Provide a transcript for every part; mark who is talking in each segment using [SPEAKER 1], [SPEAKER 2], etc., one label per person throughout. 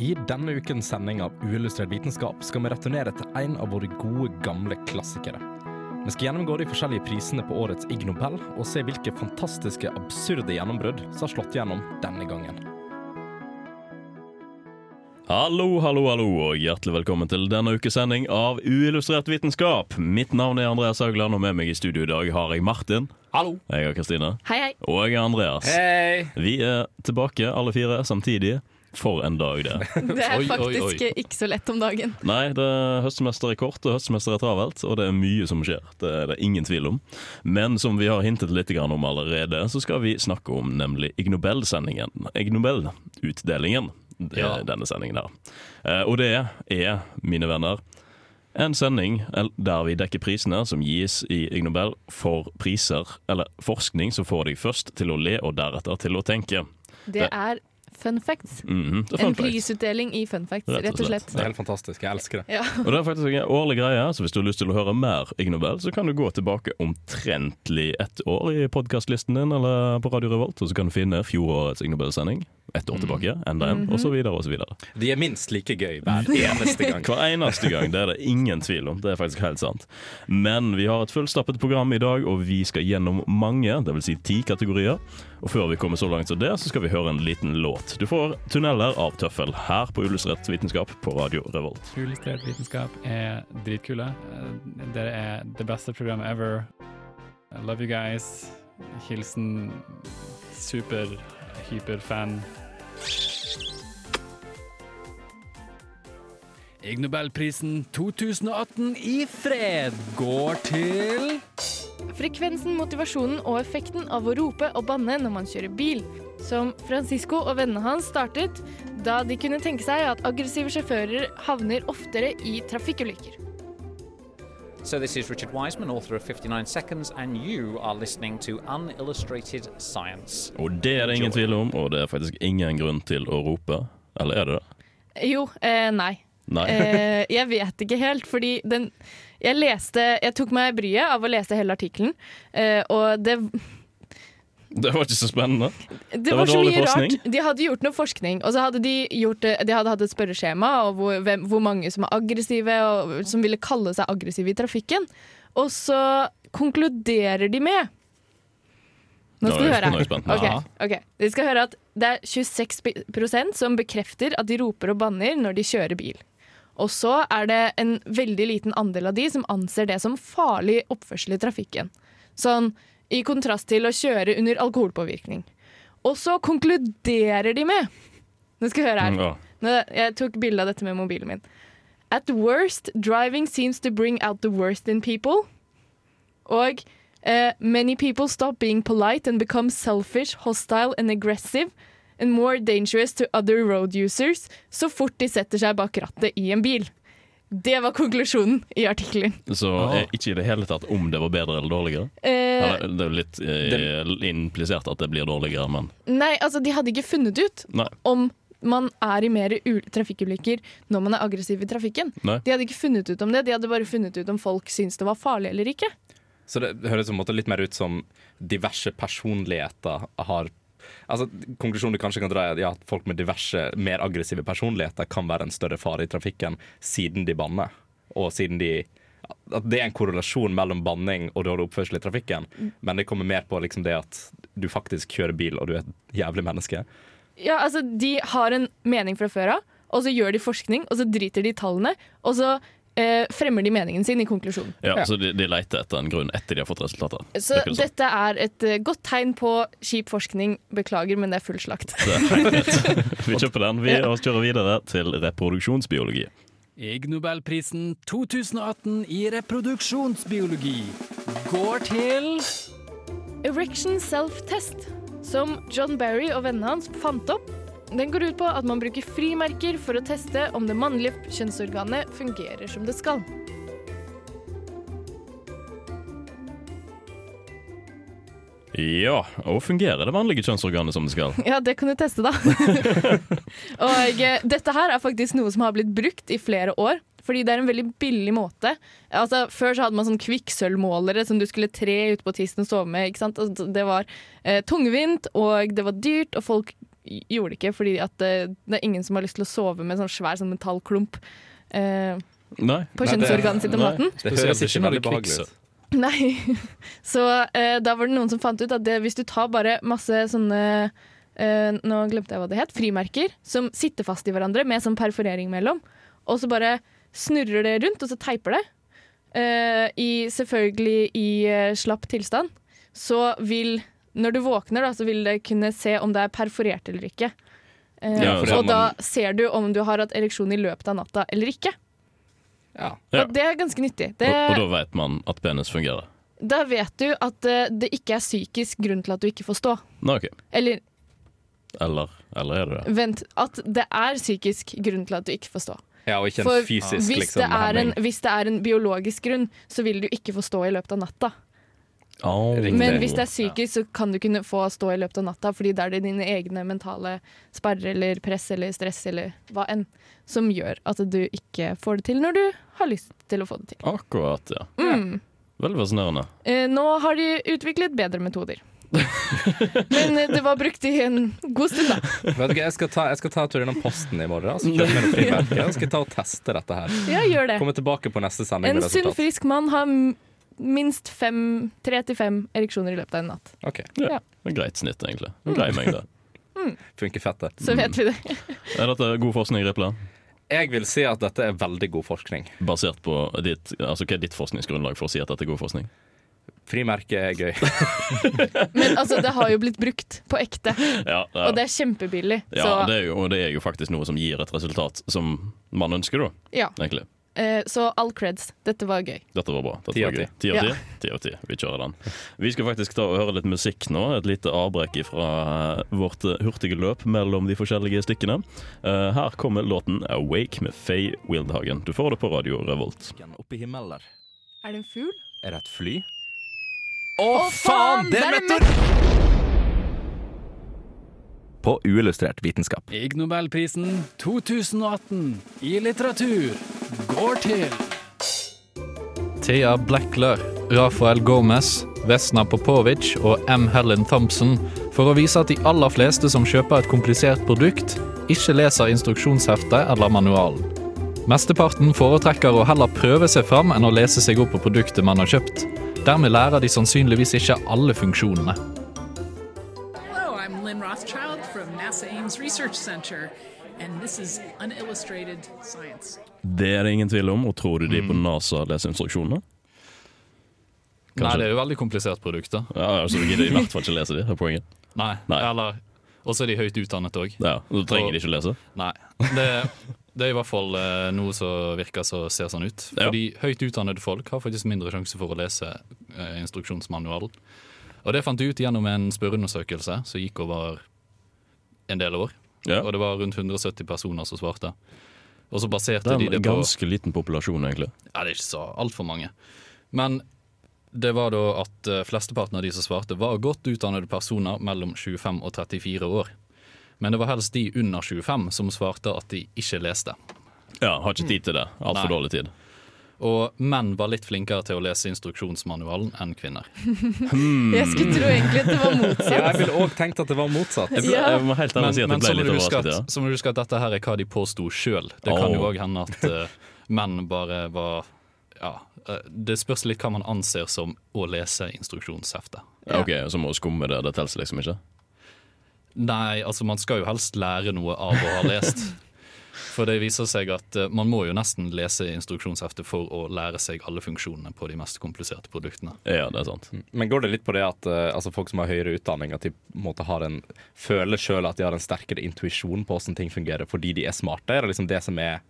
[SPEAKER 1] I denne ukens sending av Uillustrert vitenskap skal vi returnere til en av våre gode, gamle klassikere. Vi skal gjennomgå de forskjellige prisene på årets Ig Nobel, og se hvilke fantastiske, absurde gjennombrudd som har slått gjennom denne gangen.
[SPEAKER 2] Hallo, hallo, hallo, og hjertelig velkommen til denne ukes sending av Uillustrert vitenskap. Mitt navn er Andreas Haugland, og med meg i studio i dag har jeg Martin.
[SPEAKER 3] Hallo.
[SPEAKER 2] Jeg har Kristine.
[SPEAKER 4] Hei, hei.
[SPEAKER 2] Og jeg er Andreas.
[SPEAKER 3] Hei.
[SPEAKER 2] Vi er tilbake, alle fire, samtidig. For en dag, det.
[SPEAKER 4] Det er
[SPEAKER 3] Oi, oi,
[SPEAKER 4] faktisk
[SPEAKER 3] oi.
[SPEAKER 4] eh, ikke så lett om dagen.
[SPEAKER 2] Nei, det høstsemesteret er kort, og høstsemesteret er travelt, og det er mye som skjer. Det er det ingen tvil om. Men som vi har hintet litt grann om allerede, så skal vi snakke om nemlig Ig Nobel-sendingen. Ig Nobel-utdelingen. Det er
[SPEAKER 3] Ja.
[SPEAKER 2] eh, denne sendingen her. Eh, Og det er, mine venner, En sending el- der vi dekker prisene som gis i Ig Nobel for priser eller forskning som får deg først til å le og deretter til å tenke.
[SPEAKER 4] Det er fun facts.
[SPEAKER 2] Mhm, det er fun
[SPEAKER 4] En
[SPEAKER 2] fact.
[SPEAKER 4] prisutdeling i fun facts, rett og slett.
[SPEAKER 1] Det er helt fantastisk. Jeg elsker det.
[SPEAKER 4] Ja.
[SPEAKER 2] Og det er faktisk en årlig greie, så hvis du har lyst til å høre mer Ig Nobel, så kan du gå tilbake omtrentlig ett år i podkastlisten din eller på Radio Revolt, og så kan du finne fjorårets Ig Nobel-sending. Ett år tilbake, enda en, og så videre og så videre.
[SPEAKER 1] De er minst like gøy hver eneste gang.
[SPEAKER 2] Hver eneste gang. Det er det ingen tvil om. Det er faktisk helt sant. Men vi har et fullstappet program i dag, og vi skal gjennom mange, dvs. Si ti kategorier. Og før vi kommer så langt som det, så skal vi høre en liten låt. Du får 'Tunneler' av Tøffel her på Ullustrert vitenskap på Radio Revolt.
[SPEAKER 5] Uillustrert vitenskap er dritkule. Eh, Dere er det beste programmet ever. I love you guys. Hilsen super-hyperfan. Ig Nobelprisen 2018 i fred går til
[SPEAKER 4] Frekvensen, motivasjonen og effekten av å rope og banne når man kjører bil. Som Francisco og vennene hans startet da de kunne tenke seg at aggressive sjåfører havner oftere i trafikkulykker.
[SPEAKER 6] So, this is Richard Wiseman, author of 59 Seconds, and you are listening to Unillustrated Science.
[SPEAKER 2] Og det er det ingen tvil om, og det er faktisk ingen grunn til å rope. Eller er det det?
[SPEAKER 4] Jo, eh, nei.
[SPEAKER 2] Nei.
[SPEAKER 4] Eh, jeg vet ikke helt, fordi den Jeg leste Jeg tok meg bryet av å lese hele artikkelen, eh, og det
[SPEAKER 2] Det var ikke så spennende.
[SPEAKER 4] Det,
[SPEAKER 2] var
[SPEAKER 4] var, så
[SPEAKER 2] dårlig
[SPEAKER 4] mye
[SPEAKER 2] forskning.
[SPEAKER 4] rart. De hadde gjort noe forskning, og så hadde de, gjort, det- de hadde hatt et spørreskjema og hvor, hvem, hvor mange som er aggressive, og som ville kalle seg aggressive i trafikken. Og så konkluderer de med Nå skal
[SPEAKER 2] Nå
[SPEAKER 4] du
[SPEAKER 2] er jeg-
[SPEAKER 4] høre.
[SPEAKER 2] nå er jeg spent.
[SPEAKER 4] Ok,
[SPEAKER 2] Sånn. Ja.
[SPEAKER 4] ok. Vi skal høre at det er 26 som bekrefter at de roper og banner når de kjører bil. Og så er det en veldig liten andel av de som anser det som farlig oppførsel i trafikken. Sånn i kontrast til å kjøre under alkoholpåvirkning. Og så konkluderer de med Nå skal jeg høre her.
[SPEAKER 2] Ja.
[SPEAKER 4] Nå, jeg tok bilde av dette med mobilen min. At worst, driving seems to bring out the worst in people. Og eh, many people stop being polite and become selfish, hostile and aggressive and more dangerous to other road users så fort de setter seg bak rattet i en bil. Det var konklusjonen i artikkelen.
[SPEAKER 2] Så eh, ikke i det hele tatt om det var bedre eller dårligere.
[SPEAKER 4] Eh,
[SPEAKER 2] Eller, det er jo litt eh, implisert at det blir dårligere, men
[SPEAKER 4] nei, altså, de hadde ikke funnet ut
[SPEAKER 2] nei.
[SPEAKER 4] om man er i mer u- trafikkulykker når man er aggressiv i trafikken.
[SPEAKER 2] nei.
[SPEAKER 4] De hadde ikke funnet ut om det, de hadde bare funnet ut om folk syntes det var farlig eller ikke.
[SPEAKER 1] Så det høres på en måte litt mer ut som diverse personligheter har Altså, Konklusjonen du kanskje kan dra, er ja, at folk med diverse, mer aggressive personligheter kan være en større fare i trafikken siden de banner. Og siden de At det er en korrelasjon mellom banning og dårlig oppførsel i trafikken.
[SPEAKER 4] Mm.
[SPEAKER 1] Men det kommer mer på liksom det at du faktisk kjører bil, og du er et jævlig menneske.
[SPEAKER 4] Ja, altså, De har en mening fra før av, og så gjør de forskning, og så driter de i tallene. Og så eh, fremmer de meningen sin i konklusjonen.
[SPEAKER 2] Ja,
[SPEAKER 1] Ja.
[SPEAKER 2] Så de, de leter etter en grunn etter de har fått resultatet.
[SPEAKER 4] Så
[SPEAKER 2] Virker det som.
[SPEAKER 4] dette er et eh, godt tegn på kjip forskning. Beklager, men det er full slakt.
[SPEAKER 2] Det er helt greit. Vi kjøper den. Vi og kjører videre til reproduksjonsbiologi.
[SPEAKER 5] Ig Nobelprisen 2018 i reproduksjonsbiologi går til
[SPEAKER 4] Erection Self-Test, som John Barry og vennene hans fant opp. Den går ut på at man bruker frimerker for å teste om det mannlige kjønnsorganet fungerer som det skal.
[SPEAKER 2] Ja, og fungerer det vanlige kjønnsorganet som det skal?
[SPEAKER 4] Ja, det kan du teste, da. og eh, dette her er faktisk noe som har blitt brukt i flere år. Fordi det er en veldig billig måte. Altså, før så hadde man sånn kvikksølvmålere som du skulle tre ut på tissen og sove med. Ikke sant? Altså, det var eh, tungvint, og det var dyrt, og folk gjorde det ikke, fordi at eh, det er ingen som har lyst til å sove med en sånn svær sånn metallklump eh,
[SPEAKER 2] Nei.
[SPEAKER 4] på
[SPEAKER 1] Nei, det-
[SPEAKER 4] kjønnsorganet sitt om
[SPEAKER 2] nei.
[SPEAKER 4] natten.
[SPEAKER 1] Det
[SPEAKER 3] Spesielt
[SPEAKER 1] høres
[SPEAKER 3] ikke
[SPEAKER 1] ikke
[SPEAKER 3] når
[SPEAKER 1] veldig
[SPEAKER 3] det er
[SPEAKER 1] behagelig
[SPEAKER 3] kvikksølv.
[SPEAKER 1] ut.
[SPEAKER 4] Nei. Så eh, da var det noen som fant ut at det, hvis du tar bare masse sånne eh, Nå glemte jeg hva det het. Frimerker som sitter fast i hverandre med sånn perforering mellom. Og så bare snurrer det rundt, og så teiper det. eh, i, selvfølgelig i eh, slapp tilstand. Så vil Når du våkner, da, så vil det kunne se om det er perforert eller ikke. Eh,
[SPEAKER 2] Ja,
[SPEAKER 1] for
[SPEAKER 4] og
[SPEAKER 1] det-
[SPEAKER 4] da ser du om du har hatt ereksjon i løpet av natta eller ikke.
[SPEAKER 1] Ja.
[SPEAKER 2] Ja.
[SPEAKER 4] Og det er ganske nyttig. Det,
[SPEAKER 2] Og, og da vet man at penis fungerer.
[SPEAKER 4] da vet du at eh, det ikke er psykisk grunn til at du ikke får stå.
[SPEAKER 2] Nei, ok.
[SPEAKER 4] Eller
[SPEAKER 2] Eller, eller er det det?
[SPEAKER 4] vent, at det er psykisk grunn til at du ikke får stå.
[SPEAKER 1] ja, og ikke en
[SPEAKER 4] For
[SPEAKER 1] fysisk
[SPEAKER 4] Hvis
[SPEAKER 1] liksom,
[SPEAKER 4] det, er en,
[SPEAKER 1] hemming.
[SPEAKER 4] hvis det er en biologisk grunn, så vil du ikke få stå i løpet av natta.
[SPEAKER 2] Au.
[SPEAKER 1] Riktig.
[SPEAKER 4] Men hvis det er psykisk, så kan du kunne få stå i løpet av natta, fordi da er det dine egne mentale sperrer eller press eller stress eller hva enn som gjør at du ikke får det til når du har lyst til å få det til.
[SPEAKER 2] Akkurat, ja.
[SPEAKER 4] Mm.
[SPEAKER 2] Veldig fascinerende.
[SPEAKER 4] Eh, nå har de utviklet bedre metoder. Men eh, det var brukt i en god stund, da.
[SPEAKER 1] Vet du hva, jeg skal ta, jeg skal ta en tur innom posten i morgen altså, kjøpe meg noen frimerker. Jeg skal ta og teste dette her.
[SPEAKER 4] Ja, gjør det.
[SPEAKER 1] Komme tilbake på neste sending
[SPEAKER 4] En
[SPEAKER 1] med
[SPEAKER 4] sunn,
[SPEAKER 1] resultat.
[SPEAKER 4] frisk mann har m- minst fem, tre til fem ereksjoner i løpet av en natt.
[SPEAKER 1] Ok,
[SPEAKER 2] Det er Greit snitt, egentlig. En
[SPEAKER 4] Mm.
[SPEAKER 2] grei mengde.
[SPEAKER 1] Funker fett, det.
[SPEAKER 4] Så vet vi det.
[SPEAKER 2] Er dette god forskning, Riple?
[SPEAKER 1] Jeg vil si at dette er veldig god forskning.
[SPEAKER 2] Basert på ditt, altså, hva er ditt forskningsgrunnlag for å si at dette er god forskning?
[SPEAKER 1] Frimerke er gøy.
[SPEAKER 4] Men altså, det har jo blitt brukt på ekte,
[SPEAKER 2] Ja, ja.
[SPEAKER 4] og det er kjempebillig.
[SPEAKER 2] ja,
[SPEAKER 4] så,
[SPEAKER 2] det er jo, og det er jo faktisk noe som gir et resultat som man ønsker, da.
[SPEAKER 4] ja.
[SPEAKER 2] Egentlig.
[SPEAKER 4] Eh, så all creds. Dette var gøy.
[SPEAKER 2] Dette var bra. Dette
[SPEAKER 1] Ti av
[SPEAKER 2] var gøy.
[SPEAKER 1] ti.
[SPEAKER 2] Ti av
[SPEAKER 4] Ja.
[SPEAKER 2] ti. Ti av ti. Vi kjører den. Vi skal faktisk ta og høre litt musikk nå. Et lite avbrekk fra vårt eh, hurtige løp mellom de forskjellige stykkene. Eh, Her kommer låten 'Awake' med Faye Wildhagen. Du får det på radio Revolt.
[SPEAKER 1] Oppe i himmelen der.
[SPEAKER 4] Er det en fugl?
[SPEAKER 1] Er det et fly?
[SPEAKER 4] Å, faen! Det er meteor!
[SPEAKER 1] På uillustrert vitenskap.
[SPEAKER 5] Ig Nobelprisen 2018 i litteratur går til
[SPEAKER 3] Thea Blackler, Rafael Gomez, Vesna Popovic og M. Helen Thompson for å vise at de aller fleste som kjøper et komplisert produkt, ikke leser instruksjonsheftet eller manualen. Mesteparten foretrekker å heller prøve seg fram enn å lese seg opp på produktet man har kjøpt. Dermed lærer de sannsynligvis ikke alle funksjonene.
[SPEAKER 7] Hello, I'm Lynn Rothschild from NASA Ames Research Center, and this is Unillustrated Science.
[SPEAKER 2] Det er det ingen tvil om. Og tror du de på NASA leser instruksjonene?
[SPEAKER 3] Nei, det er jo veldig komplisert produkt, da.
[SPEAKER 2] Ja, altså, Du gidder i hvert fall ikke lese de, er poenget.
[SPEAKER 3] Nei,
[SPEAKER 2] Nei.
[SPEAKER 3] eller Og så er de høyt utdannet òg.
[SPEAKER 2] Ja, og Da trenger
[SPEAKER 3] Og-
[SPEAKER 2] de ikke lese.
[SPEAKER 3] Nei. Det, det er i hvert fall eh, noe som virker som ser sånn ut.
[SPEAKER 2] Ja.
[SPEAKER 3] Fordi høyt utdannede folk har faktisk mindre sjanse for å lese eh, instruksjonsmanualen. Og det fant de ut gjennom en spørreundersøkelse som gikk over en del år.
[SPEAKER 2] Ja.
[SPEAKER 3] Og det var rundt 170 personer som svarte. Og så baserte
[SPEAKER 2] Det
[SPEAKER 3] de
[SPEAKER 2] er
[SPEAKER 3] det
[SPEAKER 2] en
[SPEAKER 3] på
[SPEAKER 2] ganske liten populasjon, egentlig.
[SPEAKER 3] Ja, det er ikke så altfor mange. Men det var da at eh, flesteparten av de som svarte, var godt utdannede personer mellom 25 og 34 år. Men det var helst de under 25 som svarte at de ikke leste.
[SPEAKER 2] Ja, Har ikke tid til det. Altfor
[SPEAKER 3] Nei.
[SPEAKER 2] dårlig tid.
[SPEAKER 3] Og menn var litt flinkere til å lese instruksjonsmanualen enn kvinner.
[SPEAKER 4] Jeg skulle tro egentlig at det var
[SPEAKER 1] Mm. Ja,
[SPEAKER 4] motsatt.
[SPEAKER 1] jeg ville òg tenkt at det var motsatt.
[SPEAKER 2] Jeg, ble,
[SPEAKER 4] Ja.
[SPEAKER 2] jeg må helt ærlig
[SPEAKER 3] Men,
[SPEAKER 2] si at jeg
[SPEAKER 3] men
[SPEAKER 2] ble
[SPEAKER 3] så, må
[SPEAKER 2] litt
[SPEAKER 3] du huske
[SPEAKER 2] overrasket.
[SPEAKER 3] at,
[SPEAKER 2] Ja.
[SPEAKER 3] så må du huske at dette her er hva de påsto sjøl. Det kan jo
[SPEAKER 2] Åh.
[SPEAKER 3] òg hende at eh, menn bare var Ja. eh, det spørs litt hva man anser som å lese instruksjonsheftet.
[SPEAKER 2] Ja, Ok, Så må du skumme det. Det teller liksom ikke.
[SPEAKER 3] Nei, altså man skal jo helst lære noe av å ha lest. For det viser seg at eh, man må jo nesten lese instruksjonsheftet for å lære seg alle funksjonene på de mest kompliserte produktene.
[SPEAKER 2] Ja, det er sant.
[SPEAKER 1] Men går det litt på det at eh, altså folk som har høyere utdanning, at de på en måte har en, føler sjøl at de har en sterkere intuisjon på hvordan ting fungerer fordi de er smarte? Er det liksom det som er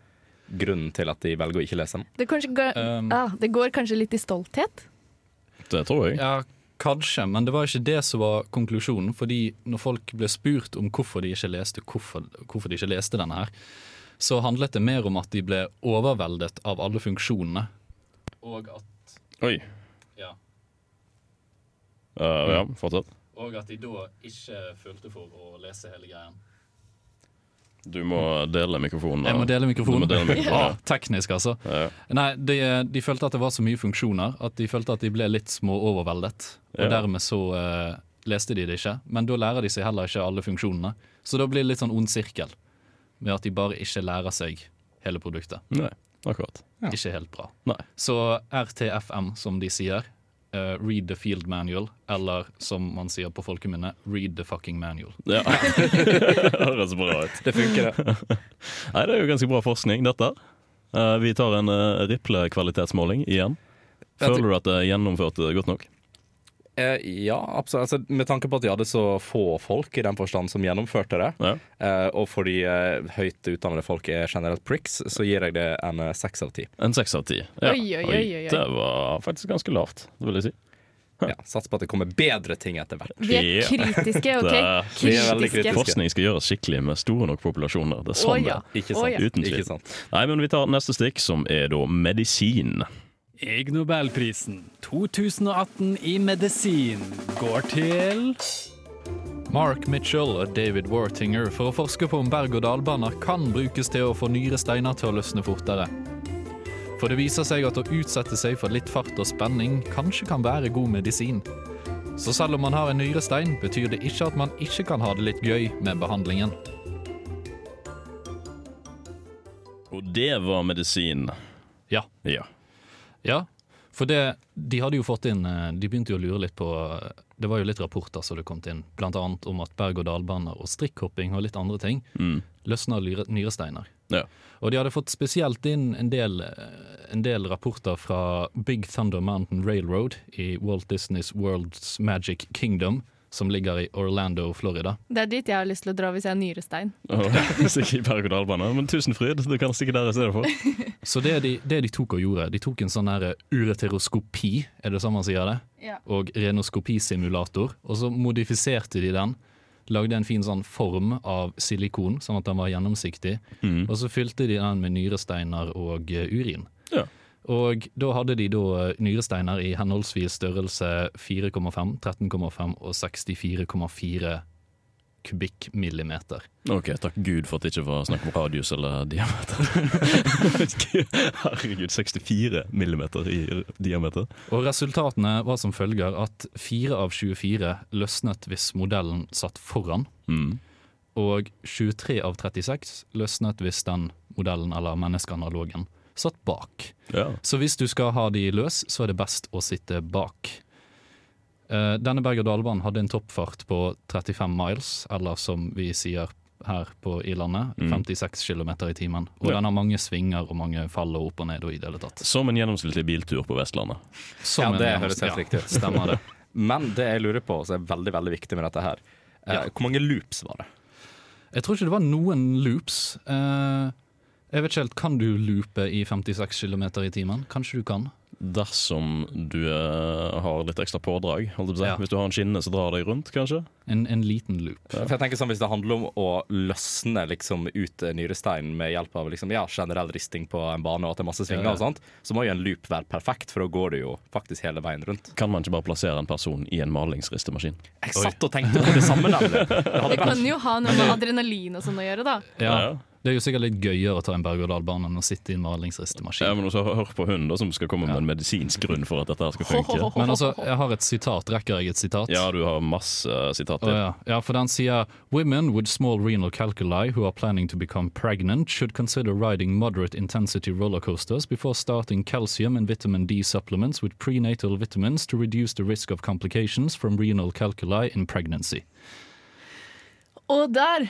[SPEAKER 1] grunnen til at de velger å ikke lese den?
[SPEAKER 4] Det, kanskje går,
[SPEAKER 3] Um.
[SPEAKER 4] ah, det går kanskje litt i stolthet.
[SPEAKER 2] Det tror jeg.
[SPEAKER 3] Ja, kanskje, men det var ikke det som var konklusjonen. Fordi når folk ble spurt om hvorfor de ikke leste, hvorfor, hvorfor de ikke leste denne her, så handlet det mer om at de ble overveldet av alle funksjonene. Og at,
[SPEAKER 2] Oi.
[SPEAKER 3] Ja.
[SPEAKER 2] Eh, ja, fortsett.
[SPEAKER 3] og at de da ikke følte for å lese hele greien.
[SPEAKER 2] Du må dele mikrofonen.
[SPEAKER 3] Jeg må dele mikrofonen.
[SPEAKER 2] Du må dele mikrofonen,
[SPEAKER 3] Ah, teknisk, altså.
[SPEAKER 2] Ja.
[SPEAKER 3] Nei, de, eh, de følte at det var så mye funksjoner at de følte at de ble litt småoverveldet. Og
[SPEAKER 2] Ja.
[SPEAKER 3] dermed så eh, leste de det ikke, men da lærer de seg heller ikke alle funksjonene. Så da blir det litt sånn ond sirkel, med at de bare ikke lærer seg hele produktet.
[SPEAKER 2] Nei, akkurat.
[SPEAKER 3] Ikke helt bra.
[SPEAKER 2] Nei.
[SPEAKER 3] Så RTFM, som de sier, eh, read the field manual, eller som man sier på folkemunne, read the fucking manual.
[SPEAKER 2] Ja. det høres bra ut.
[SPEAKER 1] Det funker, det.
[SPEAKER 2] Nei, det er jo ganske bra forskning, dette. Eh, vi tar en uh, Riple-kvalitetsmåling igjen.
[SPEAKER 1] Jeg tror-
[SPEAKER 2] Føler du at det er gjennomført eh, godt nok?
[SPEAKER 1] Eh, ja, absolutt. Altså, med tanke på at de hadde så få folk i den forstand som gjennomførte det,
[SPEAKER 2] Ja.
[SPEAKER 1] eh, og fordi eh, høyt utdannede folk er generelt pricks, så gir jeg det en eh, seks av ti.
[SPEAKER 2] En seks av ti. Ja.
[SPEAKER 4] Oi, oi, oi, oi, oi.
[SPEAKER 2] Det var faktisk ganske lavt, det vil jeg si.
[SPEAKER 1] Ja, Sats på at det kommer bedre ting etter hvert.
[SPEAKER 4] Vi er
[SPEAKER 2] Ja.
[SPEAKER 4] kritiske, OK?
[SPEAKER 2] Det-
[SPEAKER 1] Vi er veldig kritiske.
[SPEAKER 2] Forskning skal gjøres skikkelig med store nok populasjoner. Det er
[SPEAKER 4] Å
[SPEAKER 2] sånn
[SPEAKER 4] ja.
[SPEAKER 2] det er.
[SPEAKER 1] Ikke
[SPEAKER 4] Å,
[SPEAKER 1] sant?
[SPEAKER 4] ja.
[SPEAKER 2] Uten tvil.
[SPEAKER 1] Ikke sant?
[SPEAKER 2] Nei, men vi tar neste stikk, som er da medisin.
[SPEAKER 5] Ig Nobelprisen 2018 i medisin går til
[SPEAKER 3] Mark Mitchell og David Wartinger for å forske på om berg-og-dal-baner kan brukes til å få nyere steiner til å løsne fortere. For det viser seg at å utsette seg for litt fart og spenning kanskje kan være god medisin. Så selv om man har en nyrestein, betyr det ikke at man ikke kan ha det litt gøy med behandlingen.
[SPEAKER 2] Og det var medisin.
[SPEAKER 3] Ja,
[SPEAKER 2] Ja.
[SPEAKER 3] Ja, for det, de hadde jo fått inn eh, De begynte jo å lure litt på eh, Det var jo litt rapporter som det kom inn, blant annet om at berg-og-dal-baner og strikkhopping og litt andre ting løsner lyre- nyresteiner.
[SPEAKER 2] ja.
[SPEAKER 3] Og de hadde fått spesielt inn en del, eh, en del rapporter fra Big Thunder Mountain Railroad i Walt Disneys World's Magic Kingdom, som ligger i Orlando, Florida.
[SPEAKER 4] Det er dit jeg har lyst til å dra hvis jeg har nyrestein.
[SPEAKER 2] Og- Sikkert i berg-og-dal-bane, men Tusenfryd, du kan stikke der i stedet for.
[SPEAKER 3] Så det de, det de tok og gjorde, de tok en sånn her ureteroskopi, er det sånn man sier det? Og renoskopisimulator, og så modifiserte de den. Lagde en fin sånn form av silikon, sånn at den var gjennomsiktig. Og så fylte de den med nyresteiner og eh, urin.
[SPEAKER 2] Ja.
[SPEAKER 3] Og da hadde de da eh, nyresteiner i henholdsvis størrelse 4,5, 13,5 og 64,4 kubikkmillimeter.
[SPEAKER 2] Ok, takk Gud for at det ikke var snakk om radius eller diameter. Herregud, 64 millimeter i diameter.
[SPEAKER 3] Og resultatene var som følger at 4 av 24 løsnet hvis modellen satt foran,
[SPEAKER 2] Mm.
[SPEAKER 3] og 23 av 36 løsnet hvis den modellen eller menneskeanalogen satt bak.
[SPEAKER 2] Ja.
[SPEAKER 3] Så hvis du skal ha de løs, så er det best å sitte bak. Eh, Denne berg-og-dal-banen hadde en toppfart på 35 miles, eller som vi sier her på i landet,
[SPEAKER 1] Mm.
[SPEAKER 3] 56 km i timen. Og
[SPEAKER 2] Ja.
[SPEAKER 3] den har mange svinger og mange fall og opp og ned og i det hele tatt.
[SPEAKER 2] Som en gjennomsnittlig biltur på Vestlandet.
[SPEAKER 3] Som
[SPEAKER 1] Ja,
[SPEAKER 3] en
[SPEAKER 1] det
[SPEAKER 3] gjennoms-
[SPEAKER 1] høres helt
[SPEAKER 3] ja,
[SPEAKER 1] riktig ut.
[SPEAKER 3] Stemmer det.
[SPEAKER 1] Men det jeg lurer på, som er veldig veldig viktig med dette her, eh,
[SPEAKER 3] Ja.
[SPEAKER 1] hvor mange loops var det?
[SPEAKER 3] Jeg tror ikke det var noen loops. Eh, jeg vet ikke helt, Kan du loope i 56 km i timen? Kanskje du kan?
[SPEAKER 2] Dersom du eh, har litt ekstra pådrag, holdt jeg på å si.
[SPEAKER 3] Ja.
[SPEAKER 2] Hvis du har en skinne som drar deg rundt, kanskje.
[SPEAKER 3] En, en liten loop.
[SPEAKER 1] For jeg tenker sånn, Hvis det handler om å løsne liksom, ut eh, nyresteinen med hjelp av liksom, ja, generell risting på en bane, og at det er masse svinger,
[SPEAKER 2] Ja.
[SPEAKER 1] og sånt, så må jo en loop være perfekt, for da går du jo faktisk hele veien rundt.
[SPEAKER 2] Kan man ikke bare plassere en person i en malingsristemaskin?
[SPEAKER 1] Jeg satt og tenkte på det samme. nemlig. Det
[SPEAKER 4] Det
[SPEAKER 1] hadde
[SPEAKER 4] kan
[SPEAKER 1] vært
[SPEAKER 4] jo ha noe med adrenalin og sånn å gjøre, da.
[SPEAKER 2] Ja.
[SPEAKER 3] Det er jo sikkert litt gøyere å ta en berg-og-dal-bane enn å sitte i en
[SPEAKER 2] Ja,
[SPEAKER 3] malingsristemaskin.
[SPEAKER 2] men også Hør på hun da, som skal komme med en medisinsk grunn for at dette her skal funke.
[SPEAKER 3] Men altså, jeg har et sitat. Rekker jeg et sitat?
[SPEAKER 2] Ja, du har masse eh,
[SPEAKER 3] Å
[SPEAKER 2] sitater.
[SPEAKER 3] ja. ja, for den sier Women with small renal calculi who are planning to become pregnant should consider riding moderate intensity roller coasters before starting calcium and vitamin D supplements with prenatal vitamins to reduce the risk of complications from renal calculi in pregnancy.
[SPEAKER 4] Og der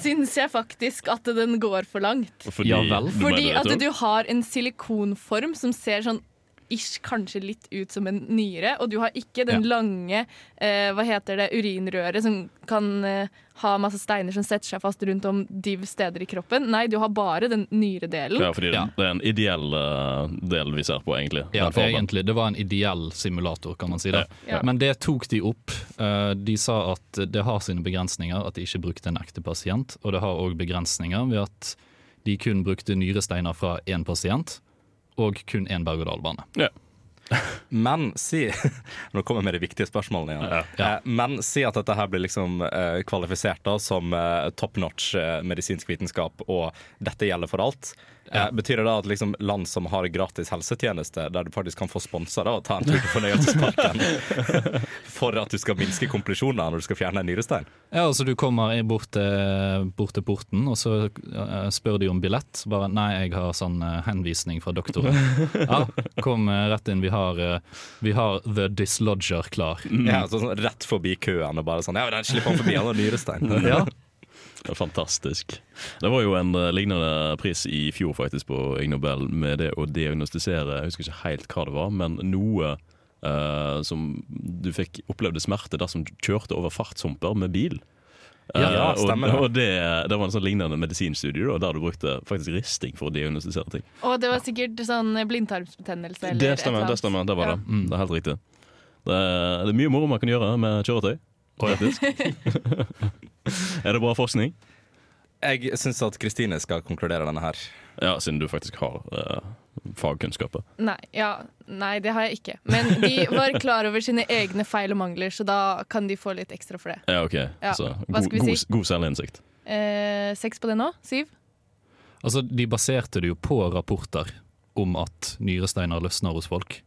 [SPEAKER 4] syns jeg faktisk at den går for langt.
[SPEAKER 2] Fordi,
[SPEAKER 3] Ja vel.
[SPEAKER 2] du
[SPEAKER 4] Fordi
[SPEAKER 2] mener
[SPEAKER 4] at
[SPEAKER 2] det,
[SPEAKER 4] du har en silikonform som ser sånn ish kanskje litt ut som en nyre, og du har ikke den lange eh, hva heter det, urinrøret som kan eh, ha masse steiner som setter seg fast rundt om div steder i kroppen. Nei, du har bare den nyredelen.
[SPEAKER 2] Ja, fordi
[SPEAKER 3] Ja.
[SPEAKER 2] det er en ideell eh, del vi ser på, egentlig.
[SPEAKER 3] Ja,
[SPEAKER 2] den formen.
[SPEAKER 3] egentlig. Det var en ideell simulator, kan man si det.
[SPEAKER 4] Ja.
[SPEAKER 3] Men det tok de opp. Eh, De sa at det har sine begrensninger at de ikke brukte en ekte pasient, og det har òg begrensninger ved at de kun brukte nyresteiner fra én pasient, og kun én berg-og-dal-bane.
[SPEAKER 2] Ja.
[SPEAKER 1] Men si Nå kommer jeg med de viktige spørsmålene igjen. Eh, Men si at dette her blir liksom eh, kvalifisert da som eh, top notch eh, medisinsk vitenskap, og dette gjelder for alt. Eh, Betyr det da at liksom land som har gratis helsetjeneste, der du faktisk kan få sponsa og ta en tur på fornøyelsesparken for at du skal minske komplisjoner når du skal fjerne en nyrestein?
[SPEAKER 3] Ja, altså Du kommer i- bort til, bort til porten, og så eh, spør de om billett. Bare 'nei, jeg har sånn eh, henvisning fra doktoren'. Ja, kom eh, rett inn. Vi har, eh, vi har The Dislodger klar.
[SPEAKER 1] Ja, så sånn Rett forbi køen og bare sånn Ja, den slipper han forbi, han har nyrestein.
[SPEAKER 3] Ja,
[SPEAKER 2] Det er Fantastisk. Det var jo en eh, lignende pris i fjor faktisk på Ig Nobel med det å diagnostisere Jeg husker ikke helt hva det var, men noe eh, som du fikk opplevde smerte dersom du kjørte over fartshumper med bil.
[SPEAKER 1] Ja,
[SPEAKER 2] Eh,
[SPEAKER 1] ja, stemmer det.
[SPEAKER 2] og, og det, det var en sånn lignende medisinstudie da, der du brukte faktisk risting for å diagnostisere ting.
[SPEAKER 4] Og det var sikkert sånn blindtarmsbetennelse. Eller
[SPEAKER 2] Det
[SPEAKER 4] et
[SPEAKER 2] stemmer,
[SPEAKER 4] eller
[SPEAKER 2] det
[SPEAKER 4] annet.
[SPEAKER 2] stemmer. Det var
[SPEAKER 4] Ja.
[SPEAKER 2] det. Mm, Det er helt riktig. Det er, det er mye moro man kan gjøre med kjøretøy. Faktisk. er det bra forskning?
[SPEAKER 1] Jeg syns at Kristine skal konkludere denne her.
[SPEAKER 2] Ja, siden du faktisk har uh, fagkunnskaper.
[SPEAKER 4] Nei, ja, nei, det har jeg ikke. Men de var klar over sine egne feil og mangler, så da kan de få litt ekstra for det.
[SPEAKER 2] Ja, ok. Så,
[SPEAKER 4] hva skal vi
[SPEAKER 2] god,
[SPEAKER 4] si?
[SPEAKER 2] god, god selvinnsikt.
[SPEAKER 4] Eh, seks på det nå? Siv?
[SPEAKER 3] altså De baserte det jo på rapporter om at nyresteiner løsner hos folk.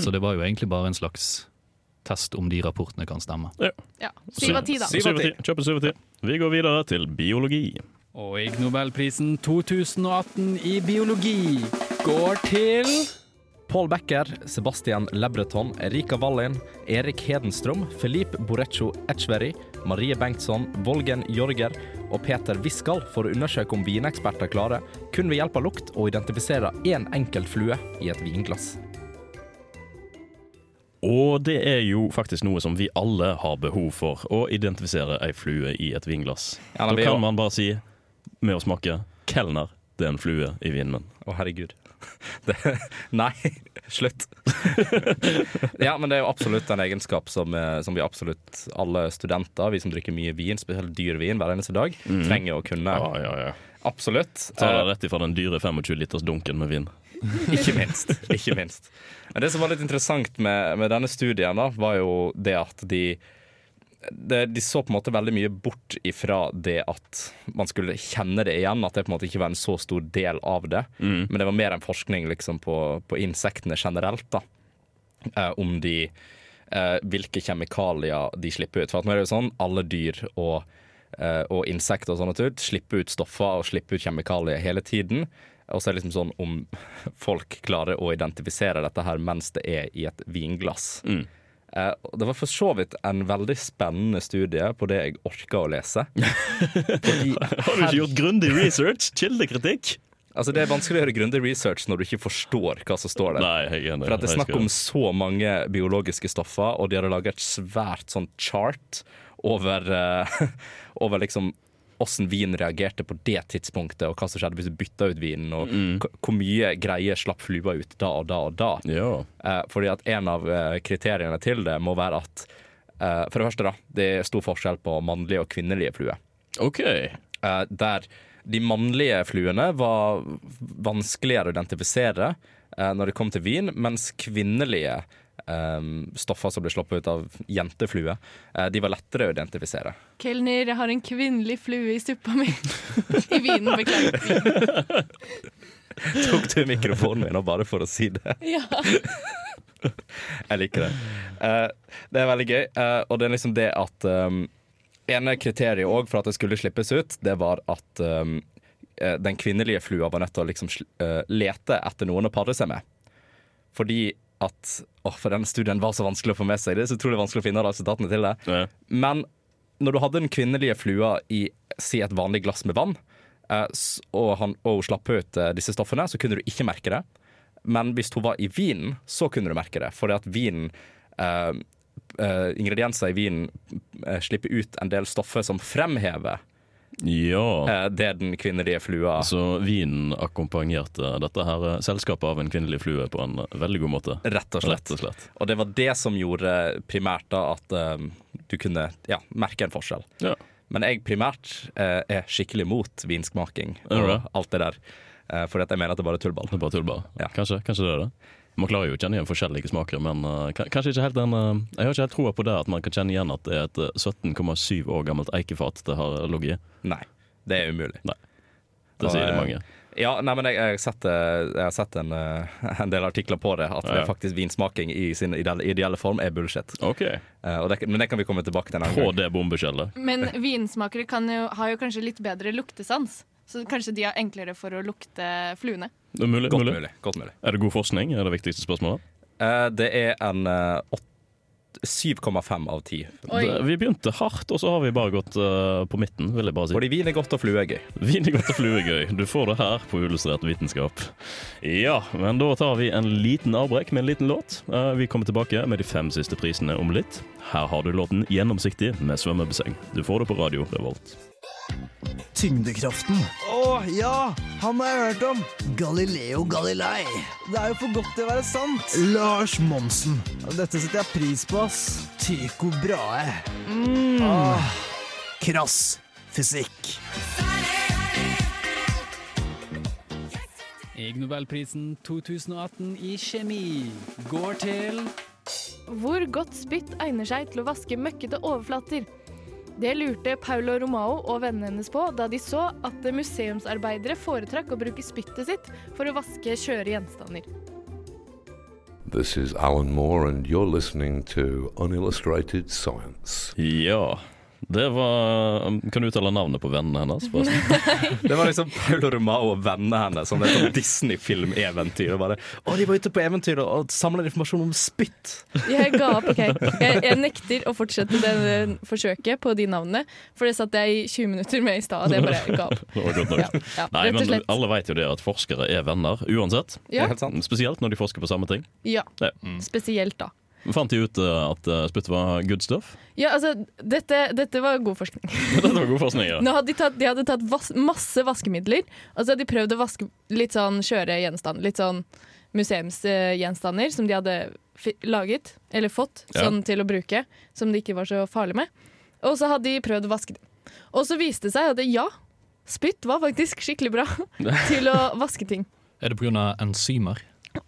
[SPEAKER 3] Så det var jo egentlig bare en slags test om de rapportene kan stemme.
[SPEAKER 4] Ja. Siv av ti, da.
[SPEAKER 1] Syv av ti.
[SPEAKER 2] Kjøp en syv av ti. Vi går videre til biologi.
[SPEAKER 5] Og Ig Nobelprisen 2018 i biologi går til
[SPEAKER 1] Paul Becker, Sebastian Lebreton, Erika Wallin, Erik Hedenstrøm, Filip Boreccio Etchveri, Marie Bengtsson, Volgen Jorger og Peter Wiskal for å undersøke om vineksperter klarer, kun ved hjelp av lukt, å identifisere én enkelt flue i et vinglass.
[SPEAKER 2] Og det er jo faktisk noe som vi alle har behov for. Å identifisere ei flue i et vinglass.
[SPEAKER 1] Ja,
[SPEAKER 2] da
[SPEAKER 1] men vi er jo-
[SPEAKER 2] kan man bare si, med å smake, kelner, det er en flue i vinen min.
[SPEAKER 1] Å, herregud. Det, nei, slutt. ja, men det er jo absolutt en egenskap som, eh, som vi absolutt alle studenter, vi som drikker mye vin, spesielt dyr vin hver eneste dag, trenger å kunne.
[SPEAKER 2] Mm. Ja, ja, ja.
[SPEAKER 1] Absolutt.
[SPEAKER 2] Ta
[SPEAKER 1] Eh,
[SPEAKER 2] det rett ifra den dyre 25 liters dunken med vin.
[SPEAKER 1] Ikke minst. ikke minst. Men det som var litt interessant med, med denne studien, da, var jo det at de det, de så på en måte veldig mye bort ifra det at man skulle kjenne det igjen. At det på en måte ikke var en så stor del av det. Men det var mer en forskning liksom, på, på insektene generelt. da eh, om de eh, hvilke kjemikalier de slipper ut. For at nå er det jo sånn, alle dyr og, eh, og insekter og sånn ut slipper ut stoffer og slipper ut kjemikalier hele tiden. Og så er det liksom sånn om folk klarer å identifisere dette her mens det er i et vinglass. Eh, og det var for så vidt en veldig spennende studie på det jeg orka å lese. Fordi,
[SPEAKER 2] Har du ikke gjort grundig research? Kildekritikk?
[SPEAKER 1] altså det er vanskelig å gjøre grundig research når du ikke forstår hva som står der.
[SPEAKER 2] Nei, jeg er enig.
[SPEAKER 1] For at det er
[SPEAKER 2] Jeg
[SPEAKER 1] snakk
[SPEAKER 2] skal-
[SPEAKER 1] om så mange biologiske stoffer, og de hadde laget et svært sånn chart over, eh, over liksom hvordan vin reagerte på det tidspunktet, og hva som skjedde hvis du bytta ut vinen, og k- hvor mye greier slapp flua ut da og da og da.
[SPEAKER 2] Ja.
[SPEAKER 1] Eh, Fordi at en av eh, kriteriene til det må være at eh, For det første, da. Det er stor forskjell på mannlige og kvinnelige fluer.
[SPEAKER 2] OK.
[SPEAKER 1] Eh, der de mannlige fluene var vanskeligere å identifisere eh, når det kom til vin, mens kvinnelige eh, stoffer som ble sluppet ut av jenteflue, eh, de var lettere å identifisere.
[SPEAKER 4] Kelner, jeg har en kvinnelig flue i suppa mi. I vinen, beklager.
[SPEAKER 1] Tok du mikrofonen min nå bare for å si det?
[SPEAKER 4] Ja.
[SPEAKER 1] Jeg liker det. Eh, det er veldig gøy, eh, og det er liksom det at um, ene kriteriet òg for at det skulle slippes ut, det var at um, eh, den kvinnelige flua var nødt til å liksom sl- eh, lete etter noen å pare seg med. Fordi at Åh, for den studien var så vanskelig å få med seg. Det er så utrolig vanskelig å finne resultatene til det.
[SPEAKER 2] Ja.
[SPEAKER 1] Men når du hadde den kvinnelige flua i si et vanlig glass med vann, eh, s- og, han, og hun slapp ut eh, disse stoffene, så kunne du ikke merke det. Men hvis hun var i vinen, så kunne du merke det. Fordi at vinen eh, eh, Ingredienser i vinen eh, slipper ut en del stoffer som fremhever
[SPEAKER 2] ja.
[SPEAKER 1] eh, det den kvinnelige flua
[SPEAKER 2] Så vinen akkompagnerte dette her eh, selskapet av en kvinnelig flue på en eh, veldig god måte.
[SPEAKER 1] Rett og slett.
[SPEAKER 2] Rett og slett.
[SPEAKER 1] Og det var det som gjorde primært da at eh, du kunne ja, merke en forskjell.
[SPEAKER 2] Ja.
[SPEAKER 1] Men jeg primært eh, er skikkelig mot vinsmaking
[SPEAKER 2] Er du
[SPEAKER 1] og
[SPEAKER 2] det?
[SPEAKER 1] alt det der. Eh, fordi at jeg mener at det bare er tullball.
[SPEAKER 2] Det er bare tull, bare.
[SPEAKER 1] Ja.
[SPEAKER 2] Kanskje, kanskje det er det. Man klarer jo å kjenne igjen forskjellige smaker, men eh, ka- kanskje ikke helt den eh, Jeg har ikke helt troa på det at man kan kjenne igjen at det er et eh, 17,7 år gammelt eikefat det har ligget i.
[SPEAKER 1] Nei, det er umulig.
[SPEAKER 2] Det
[SPEAKER 1] Og,
[SPEAKER 2] sier det
[SPEAKER 1] eh,
[SPEAKER 2] mange.
[SPEAKER 1] Ja, nei, men jeg, jeg har sett, eh, jeg har sett en, eh, en del artikler på det, at
[SPEAKER 2] Ja, ja.
[SPEAKER 1] faktisk vinsmaking i sin ideelle, ideelle form er bullshit.
[SPEAKER 2] OK.
[SPEAKER 1] Eh, og det, men det kan vi komme tilbake til en annen
[SPEAKER 2] På
[SPEAKER 1] gang.
[SPEAKER 2] det bombeskjellet.
[SPEAKER 8] Men vinsmakere kan jo, har jo kanskje litt bedre luktesans. Så kanskje de er enklere for å lukte fluene.
[SPEAKER 2] Det er Mulig,
[SPEAKER 1] Godt
[SPEAKER 2] mulig.
[SPEAKER 1] mulig. Godt mulig.
[SPEAKER 2] Er det god forskning? Er det viktigste spørsmålet?
[SPEAKER 1] Eh, det er en eh, åt- 7,5 av 10.
[SPEAKER 4] Oi.
[SPEAKER 2] Det, vi begynte hardt, og så har vi bare gått eh, på midten, vil jeg bare si.
[SPEAKER 1] Fordi vin er godt og flue er gøy.
[SPEAKER 2] Vin er godt og flue er gøy. Du får det her på Illustrert vitenskap. Ja, men da tar vi en liten avbrekk med en liten låt. Eh, Vi kommer tilbake med de fem siste prisene om litt. Her har du låten 'Gjennomsiktig' med svømmebasseng. Du får det på radio Revolt.
[SPEAKER 9] Tyngdekraften. Å ja, han har jeg hørt om. Galileo Galilei. Det er jo for godt til å være sant. Lars Monsen. Dette setter jeg pris på, ass. Tycho Brahe. Ah, krass fysikk.
[SPEAKER 5] Ig Nobelprisen 2018 i kjemi går til
[SPEAKER 4] Hvor godt spytt egner seg til å vaske møkkete overflater? Det lurte Paulo Romao og vennene hennes på da de så at museumsarbeidere foretrakk å bruke spyttet sitt for å vaske skjøre gjenstander.
[SPEAKER 10] This is Alan Moore, and you're listening to Unillustrated Science.
[SPEAKER 2] Ja. Det var um, Kan du uttale navnet på vennene hennes? forresten?
[SPEAKER 1] Det var liksom Paulo Romao og vennene hennes som et sånt Disney-filmeventyr. og bare, Å, de var ute på eventyr og, og samla informasjon om spytt!
[SPEAKER 4] Jeg ga opp, OK. Jeg, jeg nekter å fortsette det eh, forsøket på de navnene, for det satt jeg i 20 minutter med i stad, og det bare ga opp.
[SPEAKER 2] Det var godt nok.
[SPEAKER 4] Ja, ja,
[SPEAKER 2] Nei,
[SPEAKER 4] rett og
[SPEAKER 2] men
[SPEAKER 4] slett.
[SPEAKER 2] alle vet jo det at forskere er venner uansett.
[SPEAKER 1] Det
[SPEAKER 4] Ja,
[SPEAKER 1] er helt sant.
[SPEAKER 2] Spesielt når de forsker på samme ting.
[SPEAKER 4] ja.
[SPEAKER 2] Ja.
[SPEAKER 4] Spesielt da.
[SPEAKER 2] Fant de ut eh, at eh, spytt var good stuff?
[SPEAKER 4] Ja, altså, dette, dette var god forskning.
[SPEAKER 2] Dette var god forskning, ja.
[SPEAKER 4] Nå hadde de, tatt, de hadde tatt vas masse vaskemidler, og så hadde de prøvd å vaske litt sånn skjøre gjenstander. Litt sånn museumsgjenstander som de hadde fi laget, eller fått,
[SPEAKER 2] Ja.
[SPEAKER 4] sånn til å bruke. Som det ikke var så farlig med. Og så hadde de prøvd å vaske dem. Og så viste det seg at ja, spytt var faktisk skikkelig bra til å vaske ting.
[SPEAKER 3] Er det pga. enzymer?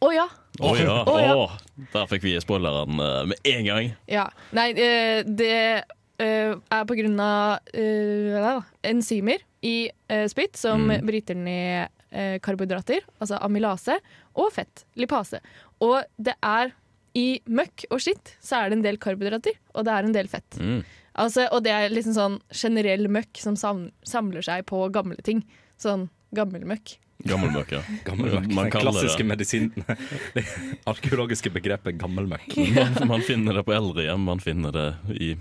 [SPEAKER 4] Å ja.
[SPEAKER 2] Å ja.
[SPEAKER 4] Å, ja.
[SPEAKER 2] Å, der fikk vi spoileren eh, med en gang.
[SPEAKER 4] ja. Nei, eh, det eh, er på grunn av eh, hva da? enzymer i eh, spytt som
[SPEAKER 2] Mm.
[SPEAKER 4] bryter ned eh, karbohydrater, altså amylase, og fett, lipase. Og det er i møkk og skitt så er det en del karbohydrater, og det er en del fett.
[SPEAKER 2] Mm.
[SPEAKER 4] Altså, og det er liksom sånn generell møkk som sam samler seg på gamle ting. Sånn gammelmøkk.
[SPEAKER 2] Gammelmøkker.
[SPEAKER 1] Gammelmøkk.
[SPEAKER 2] Man
[SPEAKER 1] Den
[SPEAKER 2] kaller
[SPEAKER 1] klassiske
[SPEAKER 2] det.
[SPEAKER 1] medisinen. Det arkeologiske begrepet gammelmøkk.
[SPEAKER 2] Man, man finner det på eldrehjem, man finner det i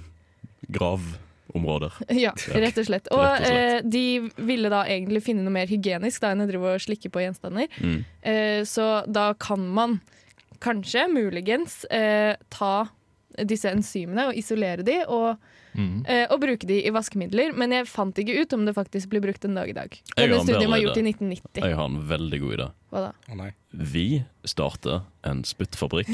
[SPEAKER 2] gravområder.
[SPEAKER 4] Ja, rett og slett. Og,
[SPEAKER 2] Rett og slett.
[SPEAKER 4] Eh, de ville da egentlig finne noe mer hygienisk da, enn å drive og slikke på gjenstander.
[SPEAKER 2] Mm.
[SPEAKER 4] Eh, så da kan man kanskje, muligens, eh, ta disse enzymene og isolere de og,
[SPEAKER 2] Mm.
[SPEAKER 4] eh, og bruke de i vaskemidler. Men jeg fant ikke ut om det faktisk blir brukt en dag i dag.
[SPEAKER 2] Jeg
[SPEAKER 4] Denne
[SPEAKER 2] har en
[SPEAKER 4] studien var
[SPEAKER 2] bedre
[SPEAKER 4] gjort i
[SPEAKER 2] idé.
[SPEAKER 4] 1990.
[SPEAKER 2] Jeg har en veldig god idé.
[SPEAKER 4] Hva da?
[SPEAKER 1] Å nei.
[SPEAKER 2] Vi starter en spyttfabrikk.